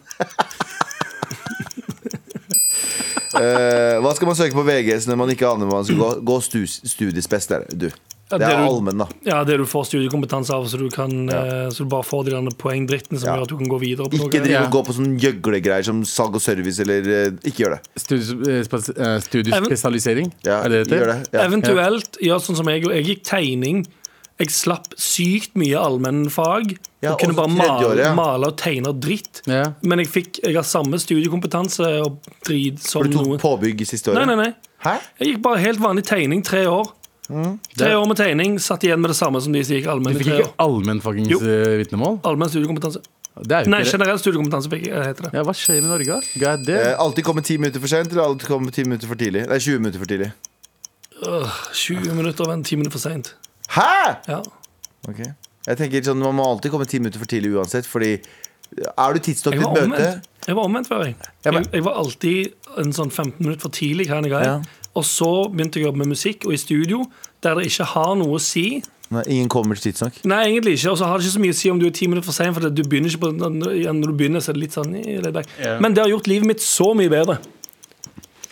S2: Eh, hva skal man søke på VGS når man ikke aner hvor man skal gå? Gå stu, studiespes, der, du. Det
S3: det
S2: er
S3: er du-
S2: allmenn, da.
S3: Ja, det du får studiekompetanse av, så du, kan, eh, så du bare får de der poengdrittene som
S2: Ja.
S3: gjør at du kan gå videre på
S2: Ikke
S3: noe.
S2: driv
S4: Ja.
S2: og gå på sånne gjøglegreier som salg og service, eller eh, Ikke gjør det.
S4: eh, Studiespesialisering?
S2: Ja,
S4: er det det
S2: gjør det. Ja.
S3: Eventuelt gjør sånn som jeg gjorde. Jeg gikk tegning. Jeg slapp sykt mye allmennfag.
S2: Ja,
S3: og kunne
S2: også
S3: bare male,
S2: tredjeåret, ja.
S3: male og tegne dritt.
S4: Ja.
S3: Men jeg fikk Jeg har samme studiekompetanse og drit som
S2: For du tok
S3: noe.
S2: påbygg siste
S3: Nei,
S2: året?
S3: nei, nei.
S2: Hæ?
S3: Jeg gikk bare helt vanlig tegning tre år. Tre
S2: Mm.
S4: Det-
S3: år med tegning, satt igjen med det samme som de som gikk allmenn
S4: Du
S3: i
S4: fikk
S3: tre
S4: ikke
S3: år.
S4: allmenn fuckings
S3: Jo.
S4: eh, vitnemål?
S3: Allmenn studiekompetanse.
S4: Det er jo
S3: Nei,
S4: ikke det.
S3: generell studiekompetanse fikk jeg, heter det.
S4: Ja, hva skjer i Norge? da? God damn.
S2: Eh, alltid komme ti minutter for sent, eller alltid komme ti minutter for tidlig? Nei, 20 minutter for tidlig.
S3: 20 minutter og en 10 minutter for seint.
S2: Hæ?!
S3: Ja.
S2: Ok. Jeg tenker sånn, Man må alltid komme ti minutter for tidlig uansett, fordi er du tidsnok til
S3: Jeg var
S2: et møte
S3: omvendt. Jeg var omvendt før, jeg. Jeg, jeg var alltid en sånn 15 minutter for tidlig. her enn jeg er. Og så begynte jeg å jobbe med musikk, og i studio, der det ikke har noe å si
S2: Nei, ingen kommer til tidsnok.
S3: Nei, egentlig ikke. Og så har det ikke så mye å si om du er ti minutter for sein, for du begynner ikke på Når du begynner, så er det litt sånn i laid back.
S4: Ja.
S3: Men det har gjort livet mitt så mye bedre.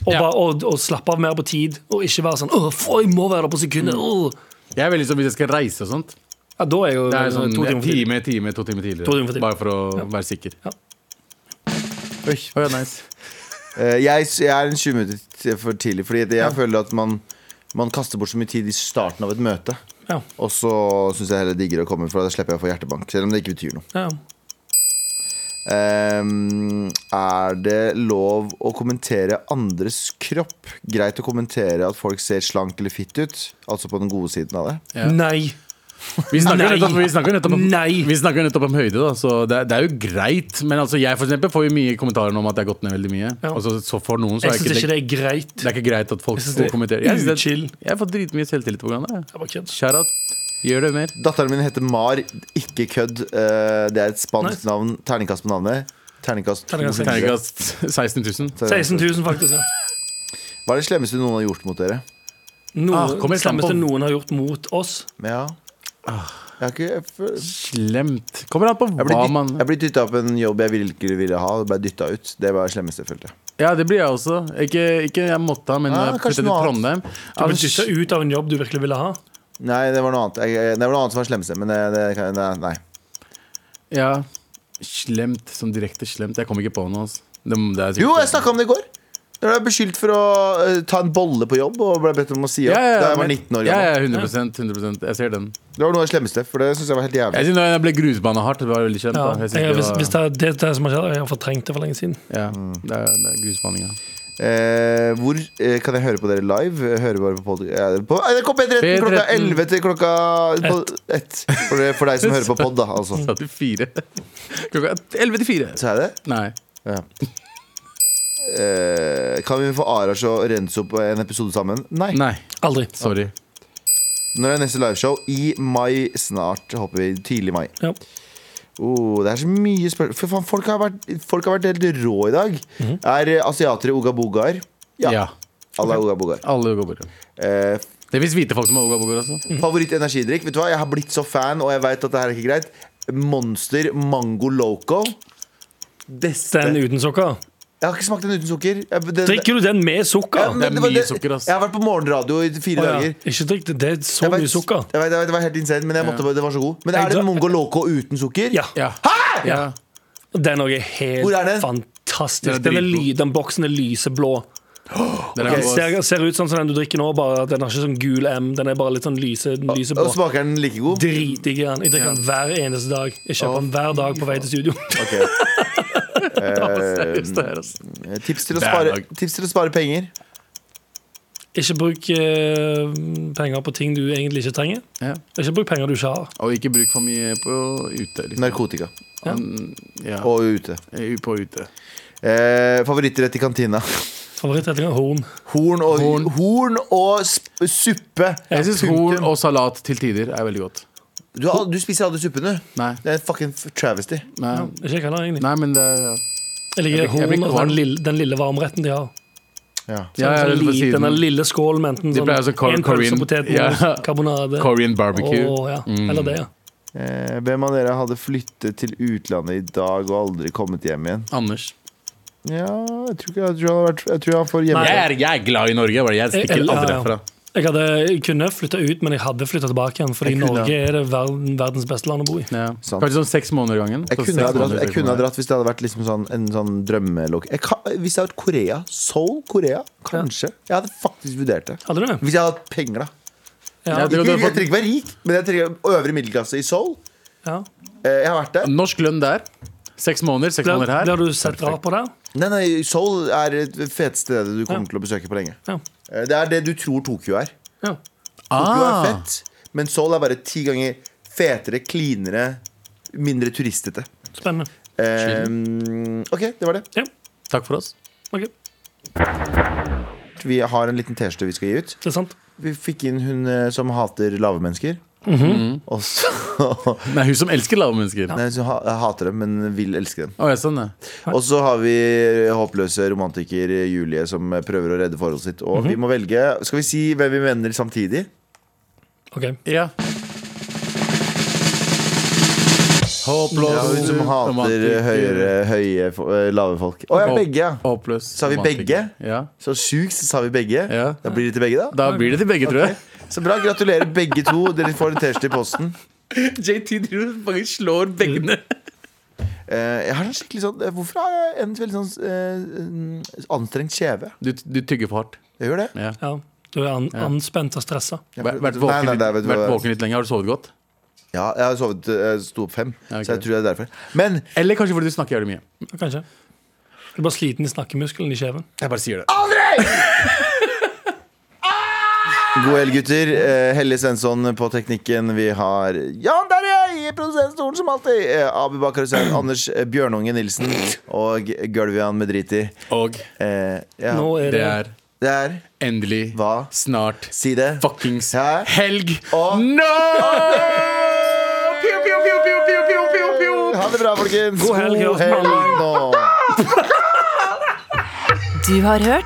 S3: Og,
S4: Ja.
S3: bare, og, og slappe av mer på tid, og ikke være sånn Åh, for jeg må være der på sekundet. åh».
S4: Jeg er veldig sånn hvis jeg skal reise og sånt.
S3: Ja, da er jeg jo
S4: Det er sånn time,
S3: to timer for tidlig.
S4: time, time, to timer tidligere.
S3: To timer for tidlig.
S4: Bare for å være sikker.
S3: Ja.
S4: Oi, oh, ja, nice.
S2: Eh, jeg, jeg er en 20 minutter t- for tidlig, fordi at jeg føler at man, man kaster bort så mye tid i starten av et møte.
S3: Ja,
S2: Og så syns jeg heller digger å komme, for da slipper jeg å få hjertebank. Selv om det ikke betyr noe.
S3: ja.
S2: Ehm, er det lov å kommentere andres kropp? Greit å kommentere at folk ser slank eller fitt ut? Altså på den gode siden av det?
S4: Ja.
S3: Nei.
S4: Vi snakker,
S3: Nei.
S4: nettopp, vi, snakker nettopp om,
S3: Nei.
S4: vi snakker nettopp om høyde, da, så det, er- det er jo greit. Men altså, jeg for eksempel, får jo mye kommentarer om at jeg har gått ned veldig mye.
S3: Ja.
S4: Og så, så for noen så
S3: Jeg
S4: er
S3: syns
S4: ikke
S3: ikke
S4: det,
S3: det er greit.
S4: det er ikke greit at folk
S3: Jeg synes det er
S4: kommenterer. Jeg, synes det-
S3: uchill.
S4: jeg får dritmye selvtillit på grunn av det.
S3: Jeg bare kødder.
S4: Shout out. Gjør det mer.
S2: Datteren min heter Mar. Ikke kødd. Eh, det er et spansk
S3: Nice.
S2: navn. Terningkast på navnet. Terningkast
S3: Terningkast
S2: 200.
S4: Terningkast 16 000.
S2: eh,
S3: 16 000, faktisk. Ja.
S2: Hva er det slemmeste noen har gjort mot dere?
S3: Noe,
S4: Ah, kom
S3: det
S4: igjen, slapp
S3: slemmeste
S4: av.
S3: noen har gjort mot oss.
S2: Ja. Jeg har ikke jeg føl-
S4: Slemt. Kommer an på
S2: Jeg ble
S4: hva
S2: dytt-
S4: man
S2: jeg ble dytta opp en jobb jeg ikke ville ha. og Ble dytta ut. Det var det slemmeste, følte jeg.
S4: Ja, det blir jeg også. Ikke, ikke jeg måtte ha, men
S2: Ah,
S4: ah, jeg
S2: kanskje
S4: flyttet til
S2: noe
S4: Trondheim.
S3: Du ble
S4: men
S3: dytta
S4: sh-
S3: ut av en jobb du virkelig ville ha.
S2: Nei, det var noe annet. Jeg, jeg- det var noe annet som var slemmeste, men det, det, kan- nei, nei.
S4: Ja. Slemt. Sånn direkte slemt. Jeg kom ikke på noe. Altså. Det, det er sikkert-
S2: Jo, jeg snakka om det i går. Jeg ble beskyldt for å eh, ta en bolle på jobb og ble bedt om å si opp
S4: ja, ja,
S2: da jeg var
S4: men-
S2: 19 år
S4: Ja,
S2: gammel.
S4: ja, 100%, 100 Jeg ser den.
S2: Det var noe av det slemmeste, for det syns jeg var helt jævlig.
S4: Jeg synes da jeg ble grusbana hardt. Det var veldig kjent.
S3: Ja.
S4: Da. Jeg synes
S3: Jeg,
S4: det
S3: hvis,
S4: var-
S3: hvis det er det, er det som har skjedd, jeg har fortrengt det for lenge siden.
S4: ja,
S2: Mm.
S4: det er, det er grusbaninga.
S2: *laughs* Eh, hvor eh, kan jeg høre på dere live? Høre bare på pod... eh, På NRK P13 klokka
S4: P13.
S2: 11 til klokka på- ett. For, det- for deg som hører på pod, da, altså.
S4: *laughs* Satt i fire. Klokka 11 til fire.
S2: Så er det.
S4: Nei.
S2: Ja. Eh, kan vi få Arash og rense opp en episode sammen? Nei.
S4: Nei.
S3: Aldri.
S4: Sorry.
S2: Når er neste liveshow? I mai snart, håper vi. Tidlig mai.
S3: Ja.
S2: Oh, det er så mye spørsmål For faen, folk har vært, folk har vært helt rå i dag.
S3: Mhm.
S2: Er eh, asiatere ogabogaer?
S4: Ja.
S2: Ja. Alle er ogabogaer.
S4: Alle går bort.
S2: Eh,
S4: Det fins hvite folk som har altså. oga-boga også.
S3: Mhm.
S2: Favoritt-energidrikk? Vet du hva, Jeg har blitt så fan, og jeg veit at det her er ikke greit. Monster Mango Loco.
S3: Den uten sukker.
S2: Jeg har ikke smakt den uten sukker. Jeg, den,
S3: Drikker du den med
S2: Ja,
S3: sukker?
S2: men
S4: Det er
S2: var
S4: mye sukker, ass.
S2: Jeg har vært på morgenradio i fire
S3: Å, ja.
S2: dager.
S3: Ikke drikk det. Det er så
S2: Jeg vet-
S3: mye sukker.
S2: Jeg vet, jeg vet, det var helt insane, men jeg måtte, bare- det var så god. Men er det
S3: Jeg-
S2: Mongo Loco uten sukker?
S3: Ja.
S4: Ja.
S3: Ja.
S4: Ja.
S3: Den òg er helt
S2: Hvor er den?
S3: fantastisk.
S4: Den er
S3: Den, er
S4: dritgod.
S3: ly, den boksen er lyseblå.
S4: Den er
S3: Den
S4: god, ass.
S3: ser, ser ut sånn som den du drikker nå, bare at den har ikke sånn gul M. Den er bare litt sånn lyse,
S2: Og
S3: lyseblå.
S2: smaker den like god?
S3: Dritdigg er den. Jeg drikker den hver eneste dag. Jeg kjøper den hver dag på vei til studio.
S2: Ok.
S4: *laughs* Seriøst, det her, altså. ass.
S2: Eh, Tips til å
S4: Hver
S2: spare,
S4: dag.
S2: tips til å spare penger.
S3: *laughs* Ikke bruk eh, penger på ting du egentlig ikke trenger.
S4: Ja.
S3: Ikke bruk penger du ikke har.
S4: Og ikke bruk for mye på ute. Liksom.
S2: Narkotika.
S4: Ja.
S2: Og ute.
S4: Eh, På ute.
S2: Eh, favorittrett i kantina.
S3: Favorittrett er horn.
S2: Horn og, horn. og sp suppe.
S4: Jeg syns horn og salat til tider er veldig godt.
S2: Du, har- du spiser aldri suppen, du.
S4: Nei,
S2: Det er en fucking f- travesty.
S4: nei,
S3: Ikke jeg heller, egentlig.
S4: nei men det er
S3: Jeg liker
S4: Jeg blir- jeg blir
S3: horn og
S4: kvalm.
S3: den lille, den lille varmretten de har.
S4: ja, ja,
S3: den,
S4: på
S3: liten,
S4: siden.
S3: den lille skålen med enten
S4: De
S3: sånn,
S4: pleier altså Cor-
S3: en
S4: Korean-
S3: pølse, potet,
S4: Ja.
S3: mos, karbonade.
S4: Korean barbecue. Mm.
S3: Åh, ja. Eller det, ja.
S2: Eh, hvem av dere hadde flyttet til utlandet i dag og aldri kommet hjem igjen?
S4: Anders.
S2: Ja, jeg tror ikke jeg tror han, har vært, jeg tror han får hjemme.
S4: Jeg er, jeg er glad i Norge. Bare. Jeg stikker
S3: Eller-
S4: aldri
S3: ja, ja.
S4: herfra.
S3: Jeg, hadde, jeg kunne flytta ut, men jeg hadde flytta tilbake igjen. Fordi
S2: Jeg kunne.
S3: Norge er det verden, verdens beste land å bo i.
S4: Ja.
S2: Sant.
S4: Kanskje sånn seks måneder gangen.
S2: Jeg
S4: Så
S2: kunne, ha
S4: seks
S2: dratt,
S4: måneder,
S2: jeg
S4: seks
S2: kunne ha
S4: måneder.
S2: dratt hvis det hadde vært liksom sånn, en sånn drømmelok... Jeg kan- Hvis det hadde vært Korea. Seoul, Korea. Kanskje. Jeg hadde faktisk vurdert det.
S3: Hadde du det?
S2: Hvis jeg hadde hatt penger, da.
S3: Ja.
S4: Ja,
S2: Ikke,
S4: det-
S2: jeg trenger ikke være rik, men jeg trenger øvre middelklasse i Seoul.
S3: Ja.
S2: Eh, Jeg har vært der.
S4: Norsk lønn der. Seks måneder, seks
S3: Blir,
S4: måneder her.
S3: blir du sett rar på der?
S2: Nei, nei, Seoul er det feteste stedet du kommer til å besøke på lenge.
S3: Ja.
S2: Eh, Det er det du tror Tokyo er.
S3: ja.
S2: Tokyo er
S4: Ah,
S2: fett, men Seoul er bare ti ganger fetere, cleanere, mindre turistete.
S3: Spennende.
S2: Eh, ok, det var det.
S3: Ja.
S4: takk for oss.
S3: ok,
S2: Vi har en liten T-skjorte vi skal gi ut.
S3: Det er sant.
S2: Vi fikk inn hun eh, som hater lave mennesker. Og så *laughs*
S4: Nei, hun som elsker lave mennesker.
S2: Nei, så ha- jeg hater dem, men vil elske dem.
S4: Å, ja, sånn, ja.
S2: Og så har vi håpløse romantiker Julie som prøver å redde forholdet sitt.
S4: Mhm.
S2: Og vi må velge Skal vi si hvem vi mener samtidig?
S3: Ok,
S4: ja. Håpløs
S2: Ja, hun som hater
S4: romantiker.
S2: høyere, høye, fo- eh, lave folk. Å ja,
S4: Håp-
S2: begge, ja.
S4: Håpløs
S2: Sa vi
S4: romantiker.
S2: begge?
S4: Ja.
S2: Så sjukt, så sa vi begge.
S4: Ja.
S2: Da blir det til begge, da.
S4: Da blir det til begge, tror *laughs* jeg.
S2: Så bra. Gratulerer, begge to. Dere får en T-skjorte i posten.
S4: JT driver og bare slår begge *laughs* ned.
S2: Eh, jeg har en skikkelig sånn eh, Hvorfor har jeg en veldig sånn eh, mm, anstrengt kjeve?
S4: Du, du tygger for hardt.
S2: Jeg gjør det.
S4: Ja.
S3: ja Du er an anspent og stressa.
S2: Jeg-
S4: Vært vært
S2: Nei,
S4: våken,
S2: nei, nei, vet
S4: litt-
S2: du hva?
S4: vært våken litt lenge. Har du sovet godt?
S2: Ja, jeg har sovet Jeg sto opp fem,
S4: Ja, ok.
S2: så jeg tror det er derfor. Men
S4: Eller kanskje fordi du snakker jævlig mye.
S3: Kanskje. Du er bare sliten i snakkemuskelen i kjeven.
S4: Jeg bare sier det.
S2: god helg, gutter. Eh, Helle Svensson på Teknikken. Vi har Jan der er jeg i produsentstolen som alltid. Eh, Abu Bakar
S3: *clears throat*
S2: Hussein, Anders eh, Bjørnunge Nilsen og Gulvian Medriti.
S4: Og
S2: Eh, ja.
S3: Nå er
S4: det
S3: det
S4: er
S2: Det er
S4: endelig
S2: Hva?
S4: snart
S2: Si det.
S4: fuckings
S2: Hæ?
S4: helg.
S2: Og-
S4: Nå! Pew, pew, pew, pew, pew, pew, pew, pew.
S2: Ha det bra, folkens.
S3: God helg,
S2: God helg nå.
S1: Du har hørt